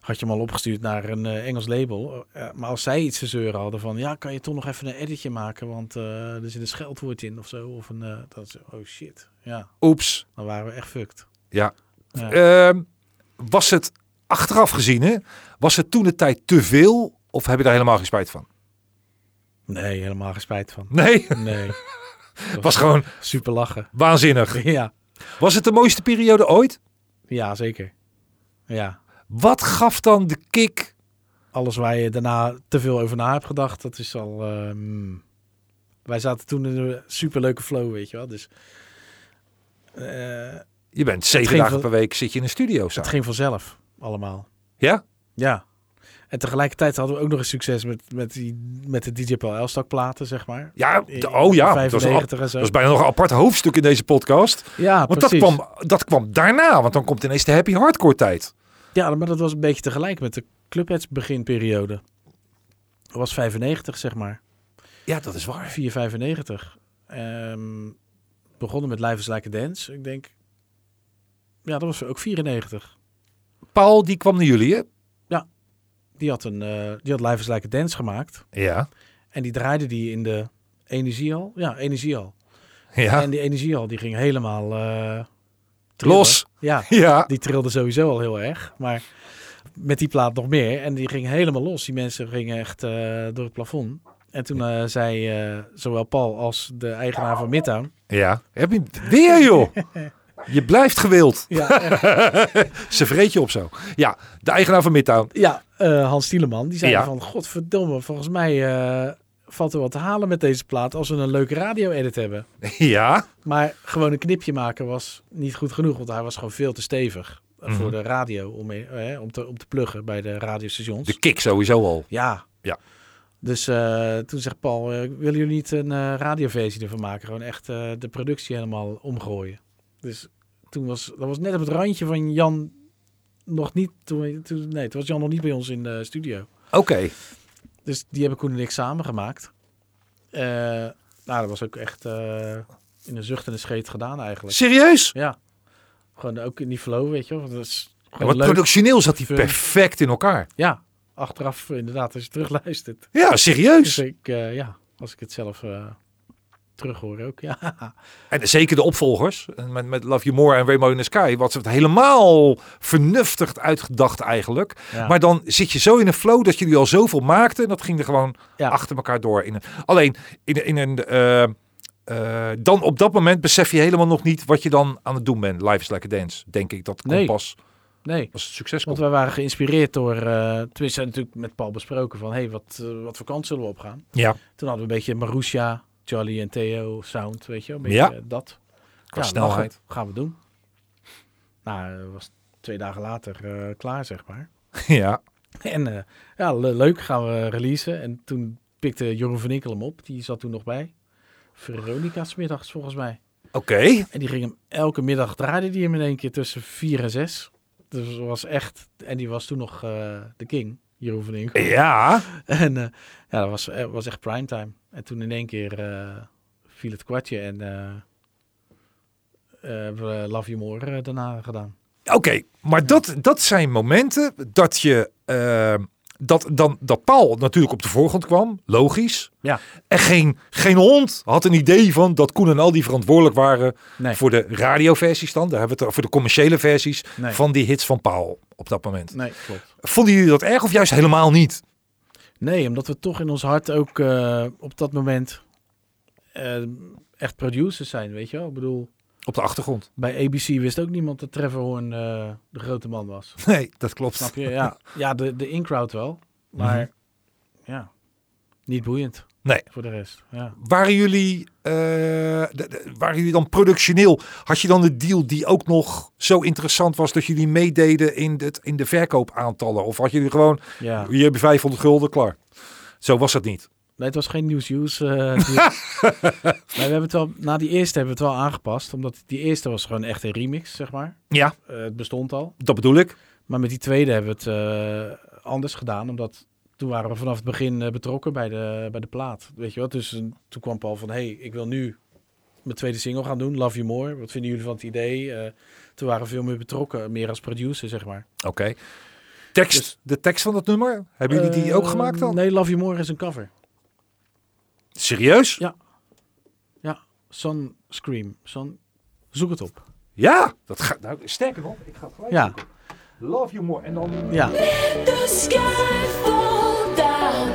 Speaker 3: had je hem al opgestuurd naar een eh, Engels label. Eh, maar als zij iets te zeuren hadden van... ja, kan je toch nog even een editje maken... want eh, er zit een scheldwoord in of zo. Of een... eh, dat is, oh shit, ja.
Speaker 1: Oeps.
Speaker 3: Dan waren we echt fucked.
Speaker 1: Ja.
Speaker 3: Ja.
Speaker 1: Ehm, was het achteraf gezien, hè, was het toen de tijd te veel of heb je daar helemaal geen spijt van?
Speaker 3: Nee, helemaal geen spijt van.
Speaker 1: Nee,
Speaker 3: Nee. Het
Speaker 1: was gewoon
Speaker 3: Super lachen.
Speaker 1: waanzinnig.
Speaker 3: Ja,
Speaker 1: Was het de mooiste periode ooit?
Speaker 3: ja zeker. Ja.
Speaker 1: Wat gaf dan de kick?
Speaker 3: Alles waar je daarna te veel over na hebt gedacht, dat is al... eh, mm. Wij zaten toen in een superleuke flow, weet je wel. Dus... eh,
Speaker 1: Je bent zeven
Speaker 3: ging
Speaker 1: dagen
Speaker 3: van-
Speaker 1: per week zit je in een studio
Speaker 3: Het
Speaker 1: samen.
Speaker 3: ging vanzelf allemaal.
Speaker 1: Ja?
Speaker 3: Ja. En tegelijkertijd hadden we ook nog een succes met, met, die, met de DJ Paul Elstak platen, zeg maar.
Speaker 1: Ja,
Speaker 3: In-
Speaker 1: de- oh ja, dat was, een ap-
Speaker 3: 95 en zo.
Speaker 1: dat was bijna nog een apart hoofdstuk in deze podcast.
Speaker 3: ja,
Speaker 1: Want dat
Speaker 3: precies.
Speaker 1: kwam, dat kwam daarna, want dan komt ineens de happy hardcore tijd.
Speaker 3: Ja, maar dat was een beetje tegelijk met de Clubheads beginperiode. Dat was 95, zeg maar.
Speaker 1: Ja, dat is waar.
Speaker 3: 495. Ehm begonnen met Live is Like a Dance. Ik denk... Ja, dat was ook 94.
Speaker 1: Paul, die kwam naar jullie, hè?
Speaker 3: Die had, een, eh, die had Live is Like a Dance gemaakt.
Speaker 1: Ja.
Speaker 3: En die draaide die in de energiehal. Ja, energiehal.
Speaker 1: Ja.
Speaker 3: En die energiehal die ging helemaal eh, trillen.
Speaker 1: Los.
Speaker 3: Ja,
Speaker 1: Ja.
Speaker 3: die trilde sowieso al heel erg. Maar met die plaat nog meer. En die ging helemaal los. Die mensen gingen echt eh, door het plafond. En toen eh, zei eh, zowel Paul als de eigenaar van Midtown.
Speaker 1: Ja. Heb je weer, joh. Je blijft gewild.
Speaker 3: Ja, echt.
Speaker 1: Ze vreet je op zo. Ja, de eigenaar van Midtown.
Speaker 3: ja eh, Hans Tieleman. Die zei
Speaker 1: Ja.
Speaker 3: van, godverdomme, volgens mij eh, valt er wat te halen met deze plaat als we een leuke radio-edit hebben.
Speaker 1: Ja.
Speaker 3: Maar gewoon een knipje maken was niet goed genoeg, want hij was gewoon veel te stevig eh,
Speaker 1: Mhm.
Speaker 3: voor de radio om, mee- eh, om, te, om te pluggen bij de radiostations.
Speaker 1: De kick sowieso al.
Speaker 3: Ja.
Speaker 1: Ja.
Speaker 3: Dus eh, toen zegt Paul, eh, willen jullie niet een eh, radioversie ervan maken? Gewoon echt eh, de productie helemaal omgooien. Dus toen was, dat was net op het randje van Jan nog niet, toen, toen, nee, toen was Jan nog niet bij ons in de studio.
Speaker 1: Oké.
Speaker 3: Dus die hebben Koen en ik samen gemaakt. Eh, nou, dat was ook echt eh, in een zucht en een scheet gedaan eigenlijk.
Speaker 1: Serieus?
Speaker 3: Ja. Gewoon ook in die flow, weet je wel. want Dat is
Speaker 1: Ja,
Speaker 3: gewoon
Speaker 1: want
Speaker 3: leuk.
Speaker 1: productioneel zat hij
Speaker 3: Fun.
Speaker 1: perfect in elkaar.
Speaker 3: Ja, achteraf inderdaad, als je terugluistert.
Speaker 1: Ja,
Speaker 3: Dus
Speaker 1: serieus.
Speaker 3: ik, eh, ja, als ik het zelf eh, terug horen ook. Ja.
Speaker 1: En zeker de opvolgers, met, met Love You More en Rainbow in the Sky, wat ze het helemaal vernuftigd uitgedacht eigenlijk.
Speaker 3: Ja.
Speaker 1: Maar dan zit je zo in een flow dat jullie al zoveel maakten en dat ging er gewoon
Speaker 3: Ja.
Speaker 1: achter elkaar door. In een, alleen, in, in een, eh, eh, dan op dat moment besef je helemaal nog niet wat je dan aan het doen bent. Life is like a dance, denk ik. Dat komt
Speaker 3: Nee.
Speaker 1: pas
Speaker 3: Nee,
Speaker 1: als het succes
Speaker 3: want
Speaker 1: komt.
Speaker 3: wij waren geïnspireerd door... eh tenminste, natuurlijk met Paul besproken van... hey, wat, eh, wat voor kant zullen we opgaan?
Speaker 1: Ja,
Speaker 3: Toen hadden we een beetje Marusha, Charlie en Theo, Sound, weet je wel. Een beetje
Speaker 1: Ja.
Speaker 3: eh, dat.
Speaker 1: qua
Speaker 3: Ja, mag
Speaker 1: snelheid.
Speaker 3: het. Gaan we doen. Nou, eh, was twee dagen later eh, klaar, zeg maar.
Speaker 1: ja.
Speaker 3: En eh, ja, le- leuk, gaan we releasen. En toen pikte Jeroen van Inkel hem op. Die zat toen nog bij. Veronica 's middags volgens mij.
Speaker 1: Oké.
Speaker 3: En die ging hem elke middag draaide die hem in één keer tussen vier en zes. Dus het was echt... En die was toen nog eh, de king, Jeroen van Inkel.
Speaker 1: Ja.
Speaker 3: En eh, ja, dat was, eh, was echt primetime. En toen in één keer eh, viel het kwartje en eh, eh, hebben we Love You More eh, daarna gedaan.
Speaker 1: Oké, maar dat, dat zijn momenten dat je. eh, dat, dan, dat Paul natuurlijk op de voorgrond kwam, logisch.
Speaker 3: Ja.
Speaker 1: En geen, geen hond had een idee van dat Koen en Aldi verantwoordelijk waren
Speaker 3: Nee.
Speaker 1: voor de radioversies dan. Daar hebben we het voor de commerciële versies
Speaker 3: Nee.
Speaker 1: van die hits van Paul op dat moment.
Speaker 3: Nee, klopt.
Speaker 1: Vonden jullie dat erg of juist helemaal niet?
Speaker 3: Nee, omdat we toch in ons hart ook eh, op dat moment eh, echt producers zijn, weet je wel? Ik bedoel,
Speaker 1: Op de achtergrond.
Speaker 3: bij ABC wist ook niemand dat Trevor Horn eh, de grote man was.
Speaker 1: Nee, dat klopt.
Speaker 3: Snap je? Ja, Mhm. ja de, de in-crowd wel. Maar ja, niet boeiend.
Speaker 1: Nee.
Speaker 3: Voor de rest, ja.
Speaker 1: Waren jullie, eh, de- de- waren jullie dan productioneel? Had je dan de deal die ook nog zo interessant was dat jullie meededen in, het, in de verkoopaantallen? Of had jullie gewoon,
Speaker 3: ja.
Speaker 1: hier heb je 500 gulden, klaar. Zo was dat niet.
Speaker 3: Nee, het was geen News Use. eh, die- maar we hebben het wel, na die eerste hebben we het wel aangepast. Omdat die eerste was gewoon echt een remix, zeg maar.
Speaker 1: Ja,
Speaker 3: Eh, het bestond al.
Speaker 1: dat bedoel ik.
Speaker 3: Maar met die tweede hebben we het eh, anders gedaan. Omdat toen waren we vanaf het begin eh, betrokken bij de, bij de plaat. Weet je wat? Dus eh, toen kwam Paul van, hé, hey, ik wil nu mijn tweede single gaan doen. Love You More. Wat vinden jullie van het idee? Eh, toen waren we veel meer betrokken. Meer als producer, zeg maar.
Speaker 1: Oké. Tekst,
Speaker 3: Dus-
Speaker 1: de tekst van dat nummer, hebben jullie die ook
Speaker 3: Eh,
Speaker 1: gemaakt dan?
Speaker 3: Nee, Love You More is een cover.
Speaker 1: Serieus?
Speaker 3: Ja. Sun Scream. Sun... Zoek het op.
Speaker 1: Ja, dat gaat. Nou, sterker nog, ik ga het gelijk.
Speaker 3: Ja,
Speaker 1: Love you more. En dan.
Speaker 3: ja.
Speaker 4: Let the sky fall down.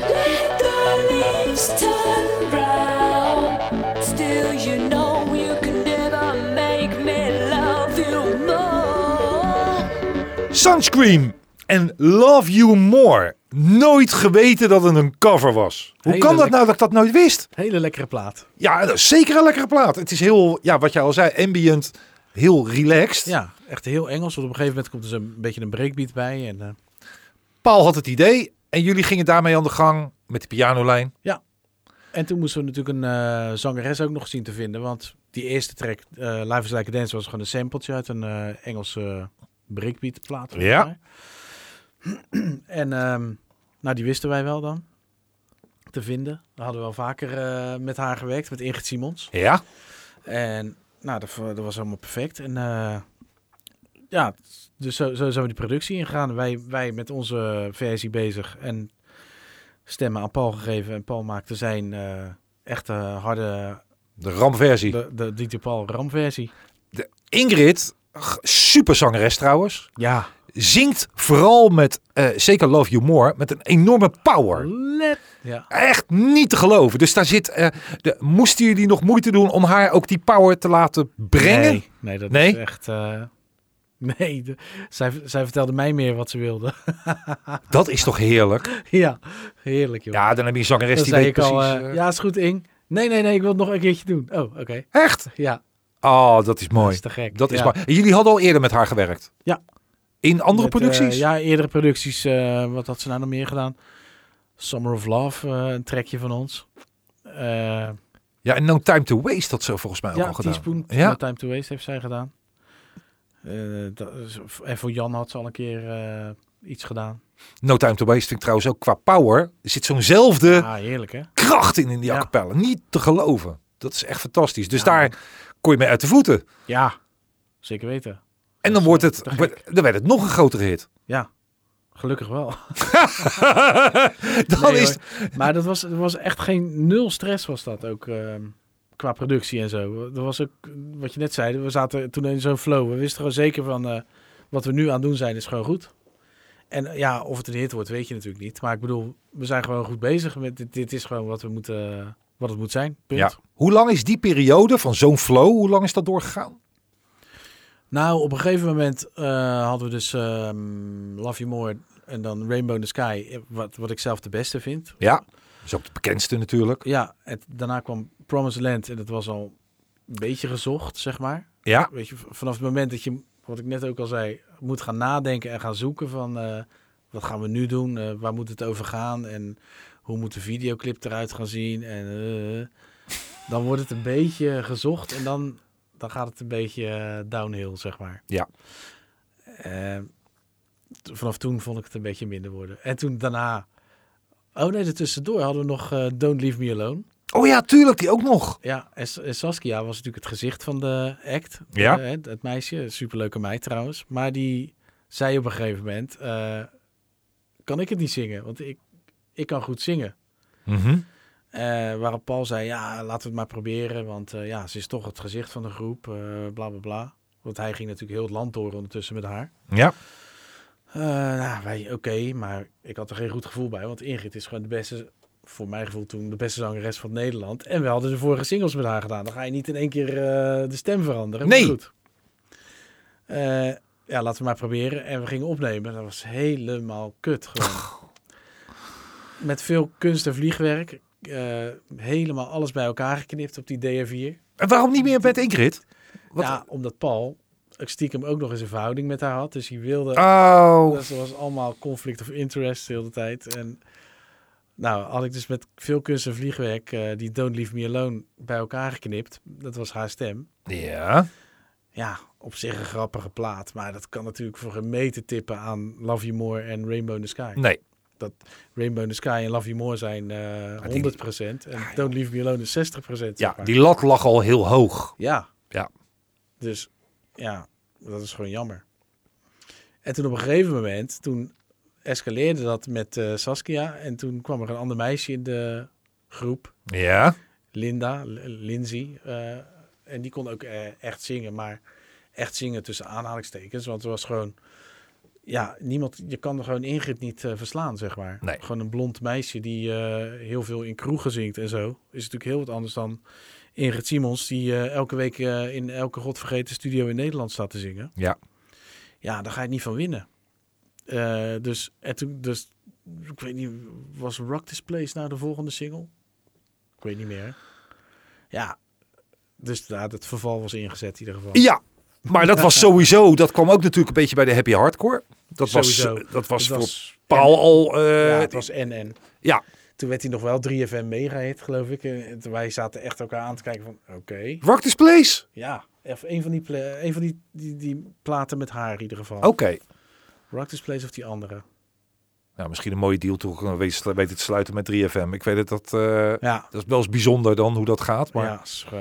Speaker 4: Let the leaves turn brown. Still, you know you can never make me love you more.
Speaker 1: Sunscreen en Love You More. Nooit geweten dat het een cover was. Hoe
Speaker 3: Hele
Speaker 1: kan dat
Speaker 3: lekker.
Speaker 1: nou dat ik dat nooit wist?
Speaker 3: Hele lekkere plaat.
Speaker 1: Ja, dat is zeker een lekkere plaat. Het is heel, ja, wat jij al zei, ambient, heel relaxed.
Speaker 3: Ja, echt heel Engels. Want op een gegeven moment komt er zo'n beetje een breakbeat bij. En, eh,
Speaker 1: Paul had het idee en jullie gingen daarmee aan de gang met de pianolijn.
Speaker 3: en toen moesten we natuurlijk een eh, zangeres ook nog zien te vinden. Want die eerste track, eh Live is Like a Dance, was gewoon een sampletje uit een eh, Engelse breakbeat plaat. volgens
Speaker 1: Ja.
Speaker 3: mij. en ehm, nou, die wisten wij wel dan te vinden. We hadden wel vaker eh, met haar gewerkt, met Ingrid Simons.
Speaker 1: Ja,
Speaker 3: En nou, dat, dat was helemaal perfect. En eh, ja, dus zo, zo zijn we die productie ingegaan. Wij, wij met onze versie bezig en stemmen aan Paul gegeven. En Paul maakte zijn eh, echte harde,
Speaker 1: de ramversie.
Speaker 3: de, de DJ Paul Ram versie.
Speaker 1: Ingrid, g- super zangeres trouwens,
Speaker 3: Ja,
Speaker 1: zingt vooral met, eh, zeker Love You More, met een enorme power.
Speaker 3: let. Ja,
Speaker 1: Echt niet te geloven. Dus daar zit, eh, de, moesten jullie nog moeite doen om haar ook die power te laten brengen?
Speaker 3: Nee, nee dat
Speaker 1: Nee?
Speaker 3: is echt... eh, nee, de- zij, zij vertelde mij meer wat ze wilde.
Speaker 1: Dat is toch heerlijk?
Speaker 3: ja, heerlijk joh.
Speaker 1: Ja, dan heb je een zangeres
Speaker 3: Dan
Speaker 1: die
Speaker 3: zei
Speaker 1: weet
Speaker 3: ik al,
Speaker 1: precies.
Speaker 3: eh,
Speaker 1: eh,
Speaker 3: ja is goed Ing. Nee, nee, nee, ik wil het nog een keertje doen. Oh, oké.
Speaker 1: Echt?
Speaker 3: Ja,
Speaker 1: Oh, dat is mooi.
Speaker 3: dat is te gek.
Speaker 1: Dat is
Speaker 3: ja.
Speaker 1: maar. Jullie hadden al eerder met haar gewerkt?
Speaker 3: Ja.
Speaker 1: In andere
Speaker 3: Met,
Speaker 1: producties?
Speaker 3: eh, ja, eerdere producties. eh, wat had ze nou nog meer gedaan? Summer of Love, eh, een trekje van ons. Eh,
Speaker 1: Ja, en No Time to Waste had ze volgens mij ook
Speaker 3: ja,
Speaker 1: al gedaan.
Speaker 3: Teaspoon,
Speaker 1: Ja.
Speaker 3: No Time to Waste heeft zij gedaan. Eh, dat is- en voor Jan had ze al een keer eh, iets gedaan.
Speaker 1: No Time to Waste vind ik trouwens ook qua power. Er zit zo'nzelfde
Speaker 3: ah, heerlijk hè?
Speaker 1: kracht in in die
Speaker 3: Ja.
Speaker 1: acapellen. Niet te geloven. Dat is echt fantastisch. Dus
Speaker 3: Ja.
Speaker 1: daar kon je mee uit de voeten.
Speaker 3: Ja, zeker weten.
Speaker 1: En
Speaker 3: Dat
Speaker 1: dan
Speaker 3: is
Speaker 1: wordt
Speaker 3: wel
Speaker 1: het,
Speaker 3: te gek.
Speaker 1: dan werd het nog een grotere hit.
Speaker 3: Ja. Gelukkig wel.
Speaker 1: Dan
Speaker 3: Nee,
Speaker 1: is
Speaker 3: hoor. Maar dat was, dat was echt geen nul stress was dat ook ehm, qua productie en zo. Dat was ook eh, wat je net zei. We zaten toen in zo'n flow. We wisten gewoon zeker van eh, wat we nu aan het doen zijn is gewoon goed. En eh, ja, of het een hit wordt weet je natuurlijk niet. Maar ik bedoel, we zijn gewoon goed bezig. Met dit, dit is gewoon wat we moeten, wat het moet zijn. Punt.
Speaker 1: Ja. Hoe lang is die periode van zo'n flow, hoe lang is dat doorgegaan?
Speaker 3: Nou, op een gegeven moment eh, hadden we dus ehm Love You More en dan Rainbow in the Sky. eh, Wat, wat ik zelf de beste vind.
Speaker 1: Ja, dat is ook de bekendste natuurlijk.
Speaker 3: Ja, het, daarna kwam Promised Land en dat was al een beetje gezocht, zeg maar.
Speaker 1: Ja,
Speaker 3: Weet je, v- vanaf het moment dat je, wat ik net ook al zei, moet gaan nadenken en gaan zoeken van eh, wat gaan we nu doen, Eh, waar moet het over gaan en hoe moet de videoclip eruit gaan zien en eh, dan wordt het een beetje gezocht en dan, dan gaat het een beetje eh, downhill, zeg maar.
Speaker 1: Ja.
Speaker 3: Eh, t- vanaf toen vond ik het een beetje minder worden. En toen daarna, oh nee, tussendoor hadden we nog eh, Don't Leave Me Alone.
Speaker 1: oh ja, tuurlijk, die ook nog.
Speaker 3: Ja, en S- en Saskia was natuurlijk het gezicht van de act.
Speaker 1: Ja.
Speaker 3: Eh, het, het meisje, superleuke meid trouwens. Maar die zei op een gegeven moment, eh, kan ik het niet zingen? Want ik, ik kan goed zingen. Eh, waarop Paul zei, ja, laten we het maar proberen. Want eh, ja, ze is toch het gezicht van de groep, eh, bla bla bla. Want hij ging natuurlijk heel het land door ondertussen met haar.
Speaker 1: Ja,
Speaker 3: Eh, nou, wij, oké, maar ik had er geen goed gevoel bij. Want Ingrid is gewoon de beste, voor mijn gevoel toen, de beste zangeres van Nederland. En we hadden de vorige singles met haar gedaan. Dan ga je niet in één keer eh, de stem veranderen. maar
Speaker 1: Nee.
Speaker 3: goed. Eh, ja, laten we maar proberen. En we gingen opnemen. Dat was helemaal kut gewoon. Met veel kunst en vliegwerk. eh, helemaal alles bij elkaar geknipt op die DR4.
Speaker 1: en waarom niet meer met Ingrid? Wat-
Speaker 3: Ja, omdat Paul ook stiekem ook nog eens een verhouding met haar had. Dus hij wilde
Speaker 1: Oh,
Speaker 3: dus er was allemaal conflict of interest de hele tijd. En nou, had ik dus met veel kunst en vliegwerk eh, die Don't Leave Me Alone bij elkaar geknipt. Dat was haar stem.
Speaker 1: ja.
Speaker 3: Ja, op zich een grappige plaat. Maar dat kan natuurlijk voor een meter tippen aan Love You More en Rainbow in the Sky.
Speaker 1: Nee,
Speaker 3: Rainbow in the Sky en Love You More zijn eh, 100%. En Don't Leave Me Alone is 60%. zeg
Speaker 1: ja,
Speaker 3: maar.
Speaker 1: die lat lag al heel hoog.
Speaker 3: Ja.
Speaker 1: Ja.
Speaker 3: Dus ja, dat is gewoon jammer. En toen op een gegeven moment, toen escaleerde dat met eh, Saskia. En toen kwam er een ander meisje in de groep,
Speaker 1: Ja,
Speaker 3: Linda, L- Lindsay. eh, en die kon ook eh, echt zingen, maar echt zingen tussen aanhalingstekens. Want het was gewoon, ja, niemand, je kan er gewoon Ingrid niet eh, verslaan, zeg maar.
Speaker 1: Nee.
Speaker 3: Gewoon een blond meisje die eh, heel veel in kroegen zingt en zo. Is natuurlijk heel wat anders dan Ingrid Simons, die eh, elke week eh, in elke godvergeten studio in Nederland staat te zingen.
Speaker 1: ja.
Speaker 3: Ja, daar ga je niet van winnen. Eh, dus, en toen, dus, ik weet niet, was Rock This Place nou de volgende single? Ik weet niet meer. Ja, dus daar het verval was ingezet in ieder geval.
Speaker 1: Ja, maar dat was sowieso, dat kwam ook natuurlijk een beetje bij de happy hardcore. Dat was,
Speaker 3: Sowieso.
Speaker 1: eh, dat was
Speaker 3: Het
Speaker 1: voor
Speaker 3: was,
Speaker 1: Paul al... eh,
Speaker 3: ja, het was en-en.
Speaker 1: ja.
Speaker 3: Toen werd hij nog wel 3FM mega hit, geloof ik. En toen wij zaten echt elkaar aan te kijken van, oké.
Speaker 1: Rock this place.
Speaker 3: Ja, of een van, die, pla- een van die, die, die platen met haar in ieder geval.
Speaker 1: Oké.
Speaker 3: Rock This Place of die andere.
Speaker 1: Nou, misschien een mooie deal toch eh, weten te sluiten met 3FM. Ik weet het, dat, eh,
Speaker 3: Ja,
Speaker 1: dat is wel eens bijzonder dan hoe dat gaat. Maar,
Speaker 3: ja is, eh,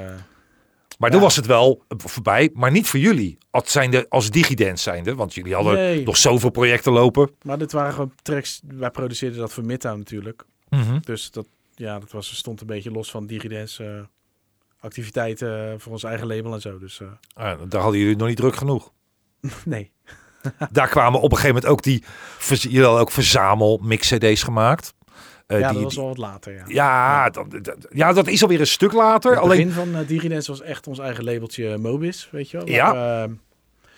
Speaker 1: maar dan
Speaker 3: Ja.
Speaker 1: was het wel voorbij. Maar niet voor jullie als, zijnde, als digidance zijnde. Want jullie hadden
Speaker 3: Nee.
Speaker 1: nog zoveel projecten lopen.
Speaker 3: Maar dit waren gewoon tracks. Wij produceerden dat voor Midtown natuurlijk.
Speaker 1: Mhm.
Speaker 3: Dus dat, ja, dat was, stond een beetje los van Digidance eh, activiteiten eh, voor ons eigen label en zo. Dus eh,
Speaker 1: Ah, daar hadden jullie nog niet druk genoeg.
Speaker 3: nee.
Speaker 1: daar kwamen op een gegeven moment ook die... verz- Jullie hadden ook verzamel mix-cd's gemaakt. Eh,
Speaker 3: ja,
Speaker 1: die-
Speaker 3: dat was
Speaker 1: die-
Speaker 3: al wat later. Ja.
Speaker 1: ja, dat, dat- ja, dat is alweer een stuk later.
Speaker 3: Het
Speaker 1: alleen
Speaker 3: begin van eh, Digidance was echt ons eigen labeltje eh, Mobis, weet je wel.
Speaker 1: Ja.
Speaker 3: Waar we, eh,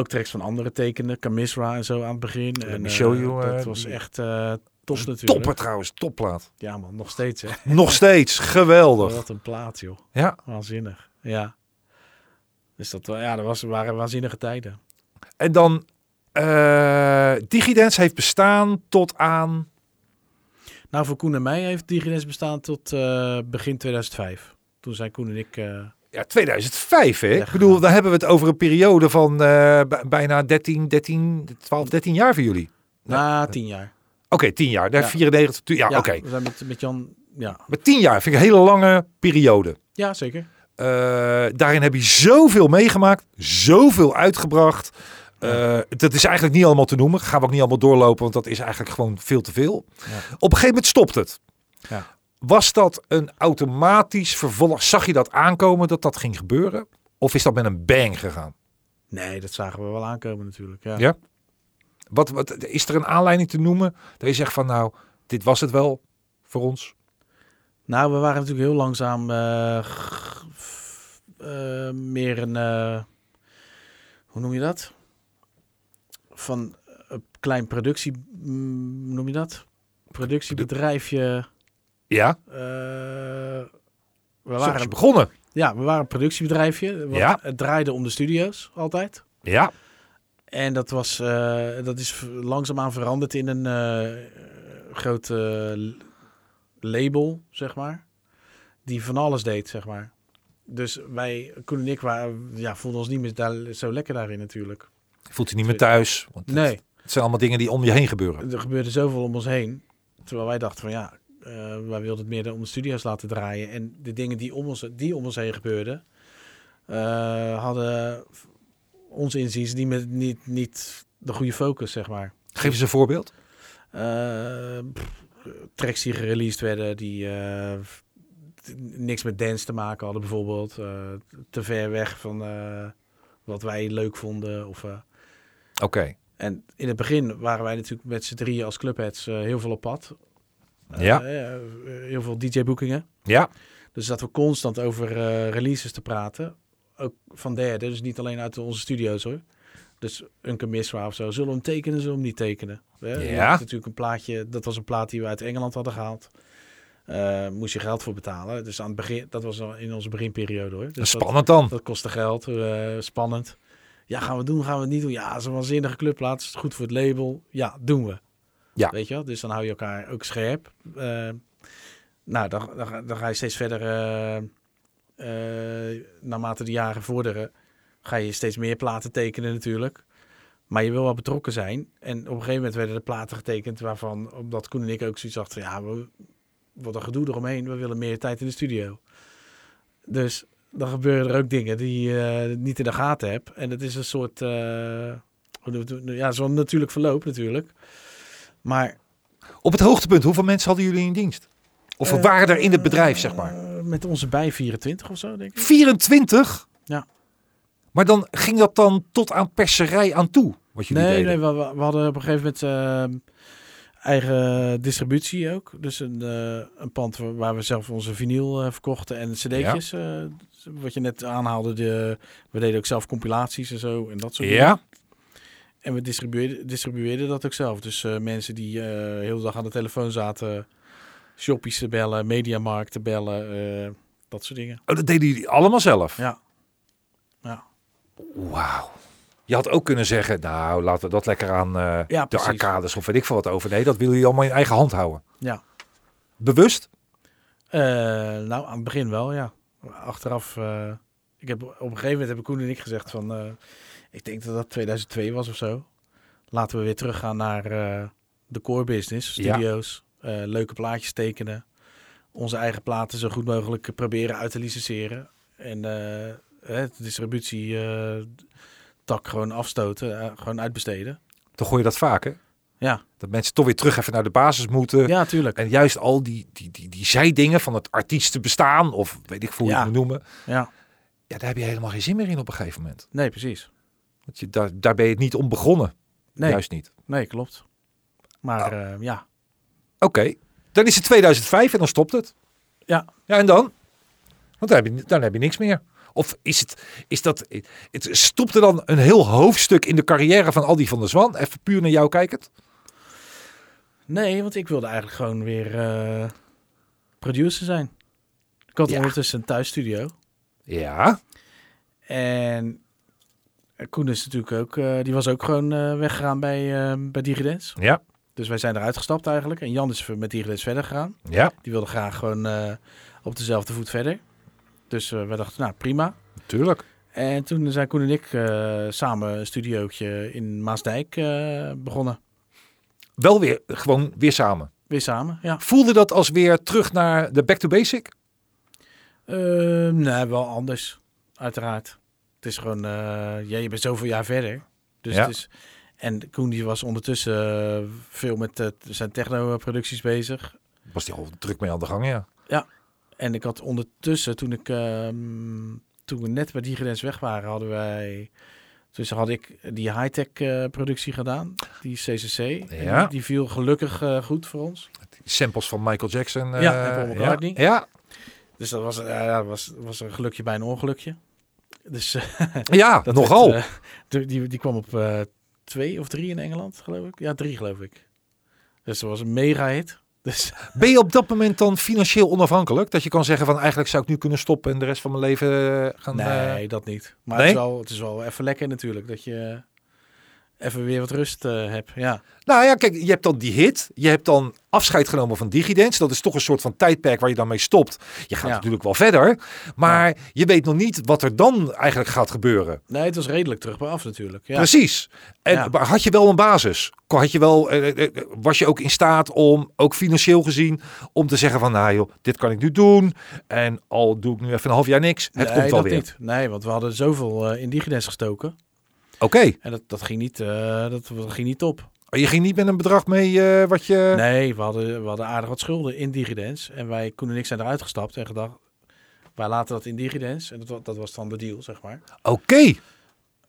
Speaker 3: ook tracks van andere tekenen, Camisra en zo aan het begin. en,
Speaker 1: me
Speaker 3: eh,
Speaker 1: show you, eh,
Speaker 3: dat was
Speaker 1: die-
Speaker 3: echt eh, top natuurlijk.
Speaker 1: topper trouwens, topplaat.
Speaker 3: Ja man, nog steeds hè.
Speaker 1: Nog steeds, geweldig.
Speaker 3: Wat een plaat joh.
Speaker 1: Ja.
Speaker 3: Waanzinnig, ja. Dus dat, wa- ja, dat was, waren waanzinnige tijden.
Speaker 1: En dan, eh DigiDance heeft bestaan tot aan...
Speaker 3: Nou, voor Koen en mij heeft DigiDance bestaan tot eh, begin 2005. Toen zijn Koen en ik... eh,
Speaker 1: Ja, 2005, hè? Ik
Speaker 3: Echt,
Speaker 1: bedoel,
Speaker 3: nou.
Speaker 1: dan hebben we het over een periode van eh, b- bijna 13, 13, 12, 13 jaar voor jullie.
Speaker 3: na tien jaar.
Speaker 1: Oké, 10 jaar. Daar
Speaker 3: Ja.
Speaker 1: 94, tu- ja, oké.
Speaker 3: We zijn met, met Jan... Ja.
Speaker 1: Maar 10 jaar vind ik een hele lange periode.
Speaker 3: ja, zeker.
Speaker 1: Eh, daarin heb je zoveel meegemaakt, zoveel uitgebracht. Eh, Eh, dat is eigenlijk niet allemaal te noemen. Gaan we ook niet allemaal doorlopen, want dat is eigenlijk gewoon veel te veel. Op een gegeven moment stopt het.
Speaker 3: Ja.
Speaker 1: Was dat een automatisch vervolg? Zag je dat aankomen dat dat ging gebeuren? Of is dat met een bang gegaan?
Speaker 3: Nee, dat zagen we wel aankomen natuurlijk. Ja.
Speaker 1: Ja. Wat, wat, is er een aanleiding te noemen dat je zegt van nou, dit was het wel voor ons?
Speaker 3: Nou, we waren natuurlijk heel langzaam eh, g- f- eh, meer een. eh, hoe noem je dat? Van een klein productie. mm, hoe noem je dat? Productiebedrijfje.
Speaker 1: Ja,
Speaker 3: eh, we
Speaker 1: zo is
Speaker 3: waren,
Speaker 1: het begonnen.
Speaker 3: ja, we waren een productiebedrijfje. want
Speaker 1: Ja.
Speaker 3: Het draaide om de studio's altijd.
Speaker 1: Ja,
Speaker 3: En dat, was, eh, dat is v- langzaamaan veranderd in een eh, groot eh, l- label, zeg maar. Die van alles deed, zeg maar. Dus wij, Koen en ik, waren, ja, voelden ons niet meer daar, zo lekker daarin natuurlijk.
Speaker 1: voelt je niet meer thuis. Want het-
Speaker 3: Nee,
Speaker 1: Het zijn allemaal dingen die om je heen gebeuren.
Speaker 3: er gebeurde zoveel om ons heen. Terwijl wij dachten van ja, eh, wij wilden het meer om de studio's laten draaien. En de dingen die om ons, die om ons heen gebeurden, eh, hadden ons inziens niet, met, niet, niet de goede focus, zeg maar.
Speaker 1: Geef eens een voorbeeld.
Speaker 3: eh pff, tracks die gereleased werden, die eh, t- niks met dance te maken hadden bijvoorbeeld. eh, te ver weg van eh, wat wij leuk vonden. Of, eh,
Speaker 1: Oké.
Speaker 3: en in het begin waren wij natuurlijk met z'n drieën als clubheads eh, heel veel op pad. Eh,
Speaker 1: Ja.
Speaker 3: eh, heel veel DJ-boekingen.
Speaker 1: Ja,
Speaker 3: Dus dat we constant over eh, releases te praten. Ook van derden, dus niet alleen uit onze studio's hoor. Dus een Miswa of zo. Zullen we hem tekenen, zullen we hem niet tekenen? Hè? Je
Speaker 1: Ja.
Speaker 3: had natuurlijk een plaatje, dat was een plaat die we uit Engeland hadden gehaald. Eh, moest je geld voor betalen. Dus aan het begin, dat was al in onze beginperiode hoor. Dus dat,
Speaker 1: spannend dan.
Speaker 3: dat kostte geld, eh, spannend. Ja, gaan we het doen, gaan we het niet doen? Ja, zo'n waanzinnige clubplaats, is goed voor het label. Ja, doen we.
Speaker 1: Ja.
Speaker 3: Weet je wel? Dus dan hou je elkaar ook scherp. Eh, nou, dan, dan, ga- dan ga je steeds verder, eh, eh, naarmate de jaren vorderen, ga je steeds meer platen tekenen natuurlijk. Maar je wil wel betrokken zijn. En op een gegeven moment werden er platen getekend waarvan, omdat Koen en ik ook zoiets dachten, ja, we, wat een gedoe eromheen, we willen meer tijd in de studio. Dus dan gebeuren er ook dingen die je eh, niet in de gaten hebt. En het is een soort, eh, hoe doen we het? ja, zo'n natuurlijk verloop natuurlijk. Maar
Speaker 1: Op het hoogtepunt, hoeveel mensen hadden jullie in dienst? Of
Speaker 3: Eh,
Speaker 1: waren er in het bedrijf, zeg maar?
Speaker 3: eh, met onze bij 24 of zo, denk ik.
Speaker 1: 24?
Speaker 3: Ja.
Speaker 1: Maar dan ging dat dan tot aan perserij aan toe, wat jullie
Speaker 3: Nee,
Speaker 1: deden?
Speaker 3: nee we, we hadden op een gegeven moment eh, eigen distributie ook. Dus een, eh, een pand waar- waar we zelf onze vinyl eh, verkochten en cd'tjes. eh, wat je net aanhaalde, de, we deden ook zelf compilaties en zo en dat soort dingen.
Speaker 1: Ja,
Speaker 3: En we distribueerden, distribueerden dat ook zelf. Dus eh, mensen die eh heel de dag aan de telefoon zaten, shoppies te bellen, mediamarkt te bellen, eh, dat soort dingen.
Speaker 1: oh, dat deden jullie allemaal zelf?
Speaker 3: Ja. Ja,
Speaker 1: Wauw. Je had ook kunnen zeggen, nou, laten we dat lekker aan eh,
Speaker 3: Ja,
Speaker 1: de
Speaker 3: precies.
Speaker 1: arcades of weet ik veel wat over. Nee, dat willen jullie allemaal in eigen hand houden.
Speaker 3: ja.
Speaker 1: Bewust?
Speaker 3: Eh, nou, aan het begin wel, ja. Achteraf, eh, ik heb, op een gegeven moment hebben Koen en ik gezegd van, eh, ik denk dat dat 2002 was of zo. Laten we weer teruggaan naar eh, de core business,
Speaker 1: Ja.
Speaker 3: studio's, eh, leuke plaatjes tekenen. Onze eigen platen zo goed mogelijk proberen uit te licenseren. En eh, hè, de distributie eh, tak gewoon afstoten, eh, gewoon uitbesteden.
Speaker 1: Dan gooi je dat vaker.
Speaker 3: Ja,
Speaker 1: Dat mensen toch weer terug even naar de basis moeten.
Speaker 3: ja tuurlijk.
Speaker 1: En juist al die, die, die, die zijdingen van het artiestenbestaan, of weet ik veel hoe
Speaker 3: Ja.
Speaker 1: je het moet noemen.
Speaker 3: Ja,
Speaker 1: Ja, daar heb je helemaal geen zin meer in op een gegeven moment.
Speaker 3: nee, precies.
Speaker 1: Want je, daar, daar ben je het niet om begonnen.
Speaker 3: Nee,
Speaker 1: Juist niet.
Speaker 3: nee klopt. Maar eh, ja,
Speaker 1: Oké, dan is het 2005 en dan stopt het.
Speaker 3: Ja.
Speaker 1: Ja, en dan? Want dan heb je, dan heb je niks meer. Of is het, is dat, het stopte dan een heel hoofdstuk in de carrière van Aldi van der Zwan? Even puur naar jou kijkend.
Speaker 3: Nee, want ik wilde eigenlijk gewoon weer eh, producer zijn. Ik had
Speaker 1: Ja.
Speaker 3: ondertussen een thuisstudio.
Speaker 1: Ja,
Speaker 3: En Koen is natuurlijk ook, eh, die was ook gewoon eh, weggegaan bij, eh bij DigiDance.
Speaker 1: ja,
Speaker 3: Dus wij zijn eruit gestapt eigenlijk. En Jan is met DigiDance verder gegaan.
Speaker 1: ja.
Speaker 3: Die wilde graag gewoon eh, op dezelfde voet verder. Dus eh, wij dachten, nou prima.
Speaker 1: Natuurlijk.
Speaker 3: En toen zijn Koen en ik eh, samen een studiootje in Maasdijk eh, begonnen.
Speaker 1: Wel weer, gewoon weer samen.
Speaker 3: Weer samen, ja.
Speaker 1: Voelde dat als weer terug naar de back to basic?
Speaker 3: Eh, nee, wel anders. Uiteraard. Het is gewoon, eh, ja, je bent zoveel jaar verder. Dus
Speaker 1: Ja.
Speaker 3: het is, en Koen die was ondertussen eh, veel met eh, zijn techno-producties bezig.
Speaker 1: Was die al druk mee aan de gang, ja.
Speaker 3: En ik had ondertussen, toen ik ehm, toen we net bij Digrens weg waren, hadden wij. Dus had ik die high-tech eh, productie gedaan, die CCC. En
Speaker 1: Ja.
Speaker 3: die, die viel gelukkig eh, goed voor ons.
Speaker 1: Samples van Michael Jackson.
Speaker 3: Ja,
Speaker 1: eh,
Speaker 3: en Paul
Speaker 1: ja.
Speaker 3: McCartney.
Speaker 1: Ja,
Speaker 3: Dus dat was, eh, ja, was, was een gelukje bij een ongelukje. Dus eh,
Speaker 1: ja
Speaker 3: dat
Speaker 1: nogal.
Speaker 3: werd, eh, die- die, die kwam op eh, twee of drie in Engeland, geloof ik. Ja, drie geloof ik. Dus dat was een mega hit. Dus
Speaker 1: Ben je op dat moment dan financieel onafhankelijk? Dat je kan zeggen van eigenlijk zou ik nu kunnen stoppen en de rest van mijn leven eh, gaan... eh,
Speaker 3: nee, dat niet. Maar
Speaker 1: nee?
Speaker 3: het, is wel, het is wel even lekker natuurlijk dat je even weer wat rust eh, hebt. Ja.
Speaker 1: Nou ja, kijk, je hebt dan die hit. Je hebt dan afscheid genomen van DigiDance. Dat is toch een soort van tijdperk waar je dan mee stopt. Je gaat
Speaker 3: Ja.
Speaker 1: natuurlijk wel verder. Maar je weet nog niet wat er dan eigenlijk gaat gebeuren.
Speaker 3: Nee, het was redelijk terug bij af natuurlijk. Ja.
Speaker 1: Precies. En
Speaker 3: Ja.
Speaker 1: maar had je wel een basis? Kon- Had je wel, eh, eh, eh, was je ook in staat om, ook financieel gezien, om te zeggen van, nou joh, dit kan ik nu doen. En al doe ik nu even een half jaar niks. Het
Speaker 3: nee,
Speaker 1: komt wel
Speaker 3: dat
Speaker 1: weer.
Speaker 3: niet. Nee, want we hadden zoveel eh, in Digidens gestoken.
Speaker 1: Oké.
Speaker 3: En dat, dat, ging niet, eh, dat, dat ging niet op.
Speaker 1: Oh, Je ging niet met een bedrag mee eh, wat je...
Speaker 3: Nee, we hadden, we hadden aardig wat schulden in Digidens. En wij, Koen en ik, zijn eruit gestapt en gedacht... Wij laten dat in Digidens. En dat, wa- dat was dan de deal, zeg maar.
Speaker 1: Oké.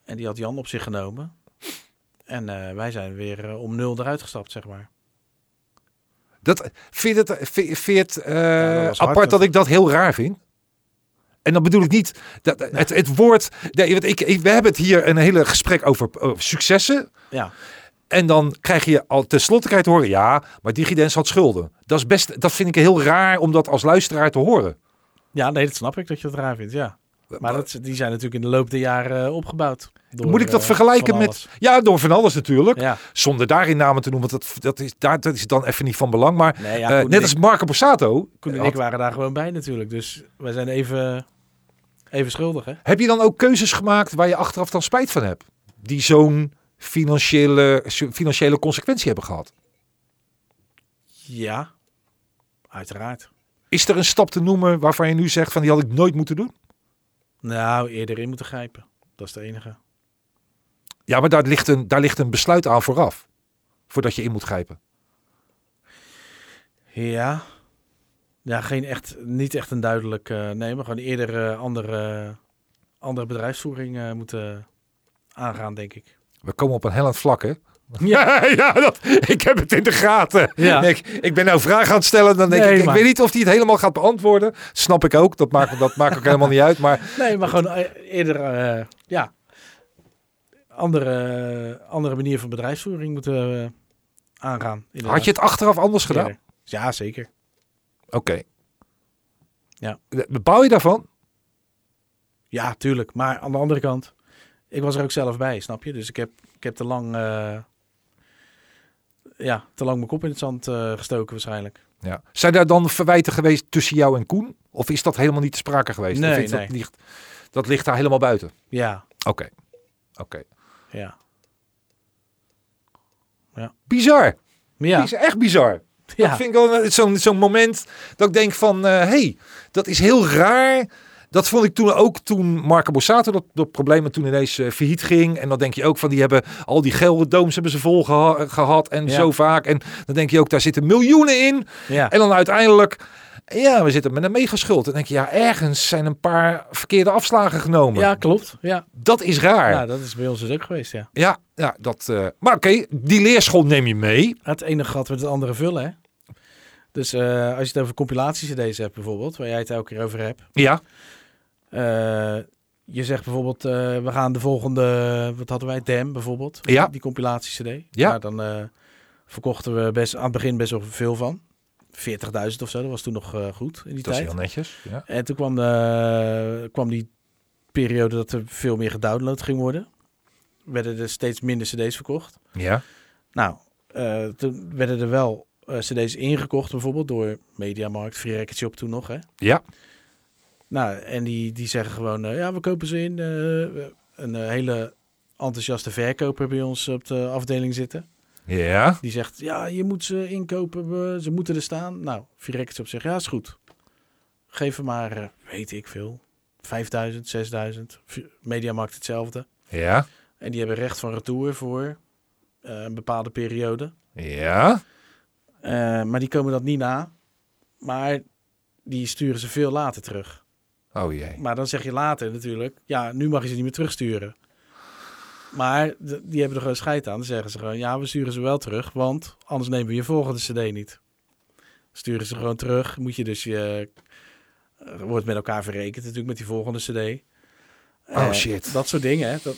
Speaker 3: En die had Jan op zich genomen. En eh, wij zijn weer eh, om nul eruit gestapt, zeg maar.
Speaker 1: Dat vind het, vind, vind, eh,
Speaker 3: dat was hard,
Speaker 1: apart
Speaker 3: hè?
Speaker 1: dat ik dat heel raar vind. En dan bedoel ik niet dat eh, het, het woord. Nee, want ik, ik- we hebben het hier een hele gesprek over eh, successen.
Speaker 3: Ja,
Speaker 1: En dan krijg je al tenslotte krijg je te horen. Ja, maar DigiDens had schulden. Dat, is best, dat vind ik heel raar om dat als luisteraar te horen.
Speaker 3: ja nee, dat snap ik dat je het raar vindt, ja. Maar dat, die zijn natuurlijk in de loop der jaren eh, opgebouwd. door,
Speaker 1: Moet ik dat
Speaker 3: eh,
Speaker 1: vergelijken
Speaker 3: van
Speaker 1: met.
Speaker 3: alles.
Speaker 1: Ja, door van alles natuurlijk.
Speaker 3: Ja.
Speaker 1: Zonder daarin namen te noemen, want dat, dat, is, daar, dat is dan even niet van belang. Maar
Speaker 3: Nee, ja,
Speaker 1: eh,
Speaker 3: Koen en
Speaker 1: net
Speaker 3: ik-
Speaker 1: als Marco Borsato. eh,
Speaker 3: Koen en
Speaker 1: had-
Speaker 3: ik waren daar gewoon bij natuurlijk. Dus wij zijn even, even schuldig, hè?
Speaker 1: Heb je dan ook keuzes gemaakt waar je achteraf dan spijt van hebt? Die zo'n financiële, zo- financiële consequentie hebben gehad?
Speaker 3: Ja, uiteraard.
Speaker 1: Is er een stap te noemen waarvan je nu zegt van die had ik nooit moeten doen?
Speaker 3: Nou, eerder in moeten grijpen. Dat is de enige.
Speaker 1: Ja, maar daar ligt een, daar ligt een besluit aan vooraf. Voordat je in moet grijpen.
Speaker 3: Ja. Ja, geen echt, niet echt een duidelijk... eh, nee, maar gewoon eerder eh, andere, andere bedrijfsvoering eh, moeten aangaan, denk ik.
Speaker 1: We komen op een hellend vlak, hè? Ja, ja dat, ik heb het in de gaten.
Speaker 3: Ja.
Speaker 1: Ik, ik ben nou vragen aan het stellen. Dan denk
Speaker 3: Nee,
Speaker 1: ik, ik
Speaker 3: maar-
Speaker 1: weet niet of hij het helemaal gaat beantwoorden. Snap ik ook. Dat maakt, dat maakt ook helemaal niet uit. Maar
Speaker 3: Nee, maar gewoon eh, eerder... eh, ja. Andere, andere manier van bedrijfsvoering moeten eh, aangaan.
Speaker 1: had je het achteraf anders gedaan?
Speaker 3: Eerder. Ja, zeker.
Speaker 1: Oké.
Speaker 3: Ja.
Speaker 1: Bouw je daarvan?
Speaker 3: Ja, tuurlijk. Maar aan de andere kant, ik was er ook zelf bij, snap je? Dus ik heb, ik heb te lang. eh, ja, te lang mijn kop in het zand eh, gestoken waarschijnlijk.
Speaker 1: Ja. Zijn daar dan verwijten geweest tussen jou en Koen? Of is dat helemaal niet te sprake geweest?
Speaker 3: Nee,
Speaker 1: Of is
Speaker 3: nee.
Speaker 1: Dat, ligt, dat ligt daar helemaal buiten.
Speaker 3: Ja,
Speaker 1: Oké. Oké.
Speaker 3: ja.
Speaker 1: Bizar.
Speaker 3: Ja,
Speaker 1: Is echt bizar.
Speaker 3: ja.
Speaker 1: Dat vind ik wel een- zo'n zo'n moment dat ik denk van... hé, hey, dat is heel raar. Dat vond ik toen ook toen Marco Borsato dat, dat probleem en toen ineens eh failliet ging. En dan denk je ook van die hebben al die gelde dooms hebben ze vol geha- gehad en
Speaker 3: Ja.
Speaker 1: zo vaak. En dan denk je ook daar zitten miljoenen in.
Speaker 3: ja.
Speaker 1: En dan uiteindelijk, ja, we zitten met een megaschuld. Dan denk je, ja, ergens zijn een paar verkeerde afslagen genomen.
Speaker 3: ja klopt. Ja.
Speaker 1: Dat is raar.
Speaker 3: ja,
Speaker 1: Ah, Ja,
Speaker 3: dat is bij ons dus ook geweest, ja.
Speaker 1: ja, dat... eh, maar oké, die leerschool neem je mee.
Speaker 3: Het ene gat met het andere vullen, hè? Dus eh, als je het over compilatie-cd's hebt bijvoorbeeld, waar jij het elke keer over hebt.
Speaker 1: Ja,
Speaker 3: Eh, je zegt bijvoorbeeld, eh, we gaan de volgende, wat hadden wij, Dam bijvoorbeeld.
Speaker 1: Ja.
Speaker 3: Die compilatie-cd.
Speaker 1: Ja.
Speaker 3: Daar dan eh, verkochten we best, aan het begin best wel veel van. 40.000 of zo, dat was toen nog eh, goed in die
Speaker 1: dat is
Speaker 3: tijd.
Speaker 1: heel netjes. Ja.
Speaker 3: En toen kwam, de, kwam die periode dat er veel meer gedownload ging worden. Werden er steeds minder cd's verkocht.
Speaker 1: ja.
Speaker 3: Nou, eh, toen werden er wel eh, cd's ingekocht bijvoorbeeld door Mediamarkt, Free Record Shop toen nog hè.
Speaker 1: Ja.
Speaker 3: Nou, en die, die zeggen gewoon, eh, ja, we kopen ze in. eh, een eh, hele enthousiaste verkoper bij ons op de afdeling zitten.
Speaker 1: Ja.
Speaker 3: Die zegt, ja, je moet ze inkopen, we- ze moeten er staan. Nou, Virex op zich, ja, is goed. Geef hem maar, eh, weet ik veel, 5000, 6000. V- Mediamarkt hetzelfde.
Speaker 1: Ja.
Speaker 3: En die hebben recht van retour voor eh, een bepaalde periode.
Speaker 1: Ja.
Speaker 3: Eh, maar die komen dat niet na. Maar die sturen ze veel later terug.
Speaker 1: Oh jee.
Speaker 3: Maar dan zeg je later natuurlijk, ja, nu mag je ze niet meer terugsturen. Maar d- die hebben er gewoon scheid aan. Dan zeggen ze gewoon, ja, we sturen ze wel terug, want anders nemen we je volgende cd niet. Sturen ze gewoon terug, moet je dus je... eh, Wordt met elkaar verrekend natuurlijk met die volgende cd.
Speaker 1: Oh,
Speaker 3: Eh,
Speaker 1: shit.
Speaker 3: Dat soort dingen. hè. Dat,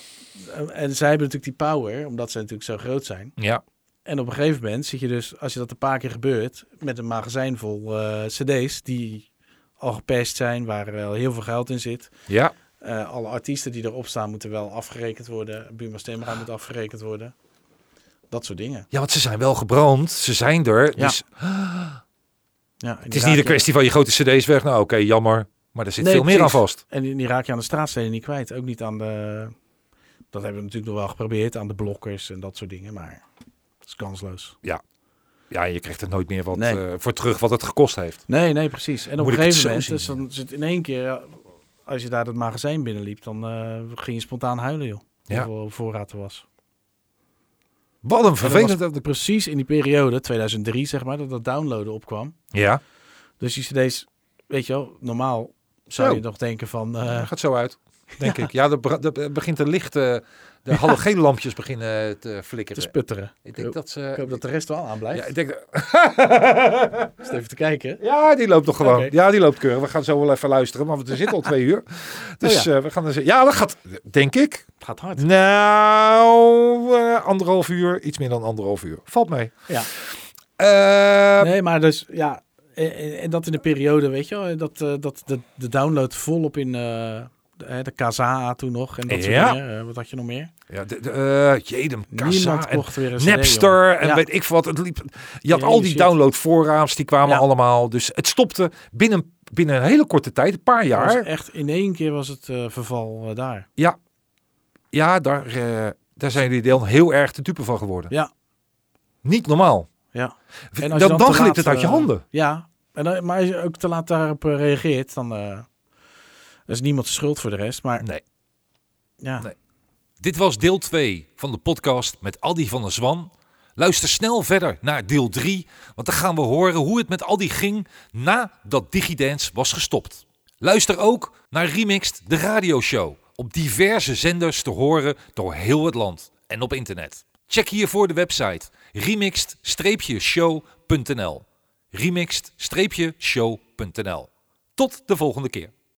Speaker 3: eh, en zij hebben natuurlijk die power, omdat ze natuurlijk zo groot zijn.
Speaker 1: Ja.
Speaker 3: En op een gegeven moment zit je dus, als je dat een paar keer gebeurt, met een magazijn vol eh, cd's die al gepest zijn, waar wel heel veel geld in zit.
Speaker 1: Ja.
Speaker 3: Eh, alle artiesten die erop staan moeten wel afgerekend worden. Buma Stemra moet afgerekend worden. Dat soort dingen.
Speaker 1: Ja, want ze zijn wel gebrand. Ze zijn er.
Speaker 3: Ja.
Speaker 1: Dus
Speaker 3: Ja, en die
Speaker 1: het is
Speaker 3: raak
Speaker 1: niet
Speaker 3: je-
Speaker 1: een kwestie van je gooit de cd's weg. Nou oké, jammer. Maar er zit
Speaker 3: Nee,
Speaker 1: veel meer aan
Speaker 3: precies.
Speaker 1: vast.
Speaker 3: En die, die raak je aan de straatsteden niet kwijt. Ook niet aan de... Dat hebben we natuurlijk nog wel geprobeerd, aan de blokkers en dat soort dingen. Maar dat is kansloos.
Speaker 1: Ja, je krijgt er nooit meer wat
Speaker 3: Nee.
Speaker 1: eh, voor terug wat het gekost heeft.
Speaker 3: Nee, nee, precies. En op
Speaker 1: Moet
Speaker 3: een
Speaker 1: ik het
Speaker 3: gegeven
Speaker 1: zo
Speaker 3: moment,
Speaker 1: zien?
Speaker 3: dus dan zit in één keer... ja, Als je daar dat magazijn binnenliep, dan eh, ging je spontaan huilen, joh.
Speaker 1: Ja.
Speaker 3: Hoeveel voorraad er was.
Speaker 1: Wat een
Speaker 3: En dat was
Speaker 1: vervelend.
Speaker 3: precies in die periode, 2003 zeg maar, dat dat downloaden opkwam.
Speaker 1: Ja,
Speaker 3: Dus die cd's, weet je wel, normaal zou
Speaker 1: Zo.
Speaker 3: je nog denken van... eh,
Speaker 1: dat gaat zo uit. Denk ik. Ja, er, bra- er begint de lichte, de halogene lampjes beginnen eh, te
Speaker 3: te
Speaker 1: flikkeren.
Speaker 3: sputteren.
Speaker 1: ik denk dat ze...
Speaker 3: Ik hoop dat de rest wel aan blijft.
Speaker 1: Ja, ik denk,
Speaker 3: Eens even te kijken.
Speaker 1: ja, die loopt nog gewoon.
Speaker 3: Oké.
Speaker 1: Ja, die loopt keurig. We gaan zo wel even luisteren, want we zitten al twee uur. Dus
Speaker 3: Oh ja.
Speaker 1: eh, we gaan er... Ja, dat gaat, denk ik.
Speaker 3: Het gaat hard.
Speaker 1: Nou, eh, anderhalf uur. Iets meer dan anderhalf uur. Valt mee.
Speaker 3: Ja.
Speaker 1: Eh,
Speaker 3: Nee, maar dus ja, en- en, en dat in de periode, weet je wel, dat, eh, dat de, de download volop in eh, de, hè, de KZA toen nog en dat soort
Speaker 1: Ja.
Speaker 3: dingen. Eh, wat had je nog meer?
Speaker 1: ja, de, de, eh, Jedem, Kassa
Speaker 3: Niemand
Speaker 1: en
Speaker 3: kocht weer een CD,
Speaker 1: Napster
Speaker 3: jongen.
Speaker 1: en
Speaker 3: Ja.
Speaker 1: weet ik veel wat. Het liep, je had
Speaker 3: Ja,
Speaker 1: al
Speaker 3: hele
Speaker 1: die
Speaker 3: shit.
Speaker 1: downloadvoorraads, die kwamen
Speaker 3: Ja.
Speaker 1: allemaal. Dus het stopte binnen, binnen een hele korte tijd, een paar
Speaker 3: Het was
Speaker 1: jaar.
Speaker 3: echt in één keer was het eh, verval eh, daar.
Speaker 1: Ja, daar, eh, daar zijn jullie deel heel erg de dupe van geworden.
Speaker 3: Ja.
Speaker 1: Niet normaal.
Speaker 3: Ja. En als
Speaker 1: Dan,
Speaker 3: je
Speaker 1: dan,
Speaker 3: te
Speaker 1: glipt
Speaker 3: laat,
Speaker 1: het uit je
Speaker 3: eh,
Speaker 1: handen.
Speaker 3: Ja, en, dan- maar als je ook te laat daarop eh, reageert, dan eh, dat is niemand schuld voor de rest. Maar
Speaker 1: Nee.
Speaker 3: ja,
Speaker 1: Nee.
Speaker 5: Dit was deel 2 van de podcast met Aldi van der Zwan. Luister snel verder naar deel 3, want dan gaan we horen hoe het met Aldi ging nadat DigiDance was gestopt. Luister ook naar Remixed, de radioshow, op diverse zenders te horen door heel het land en op internet. Check hiervoor de website remixed-show.nl remixed-show.nl Tot de volgende keer.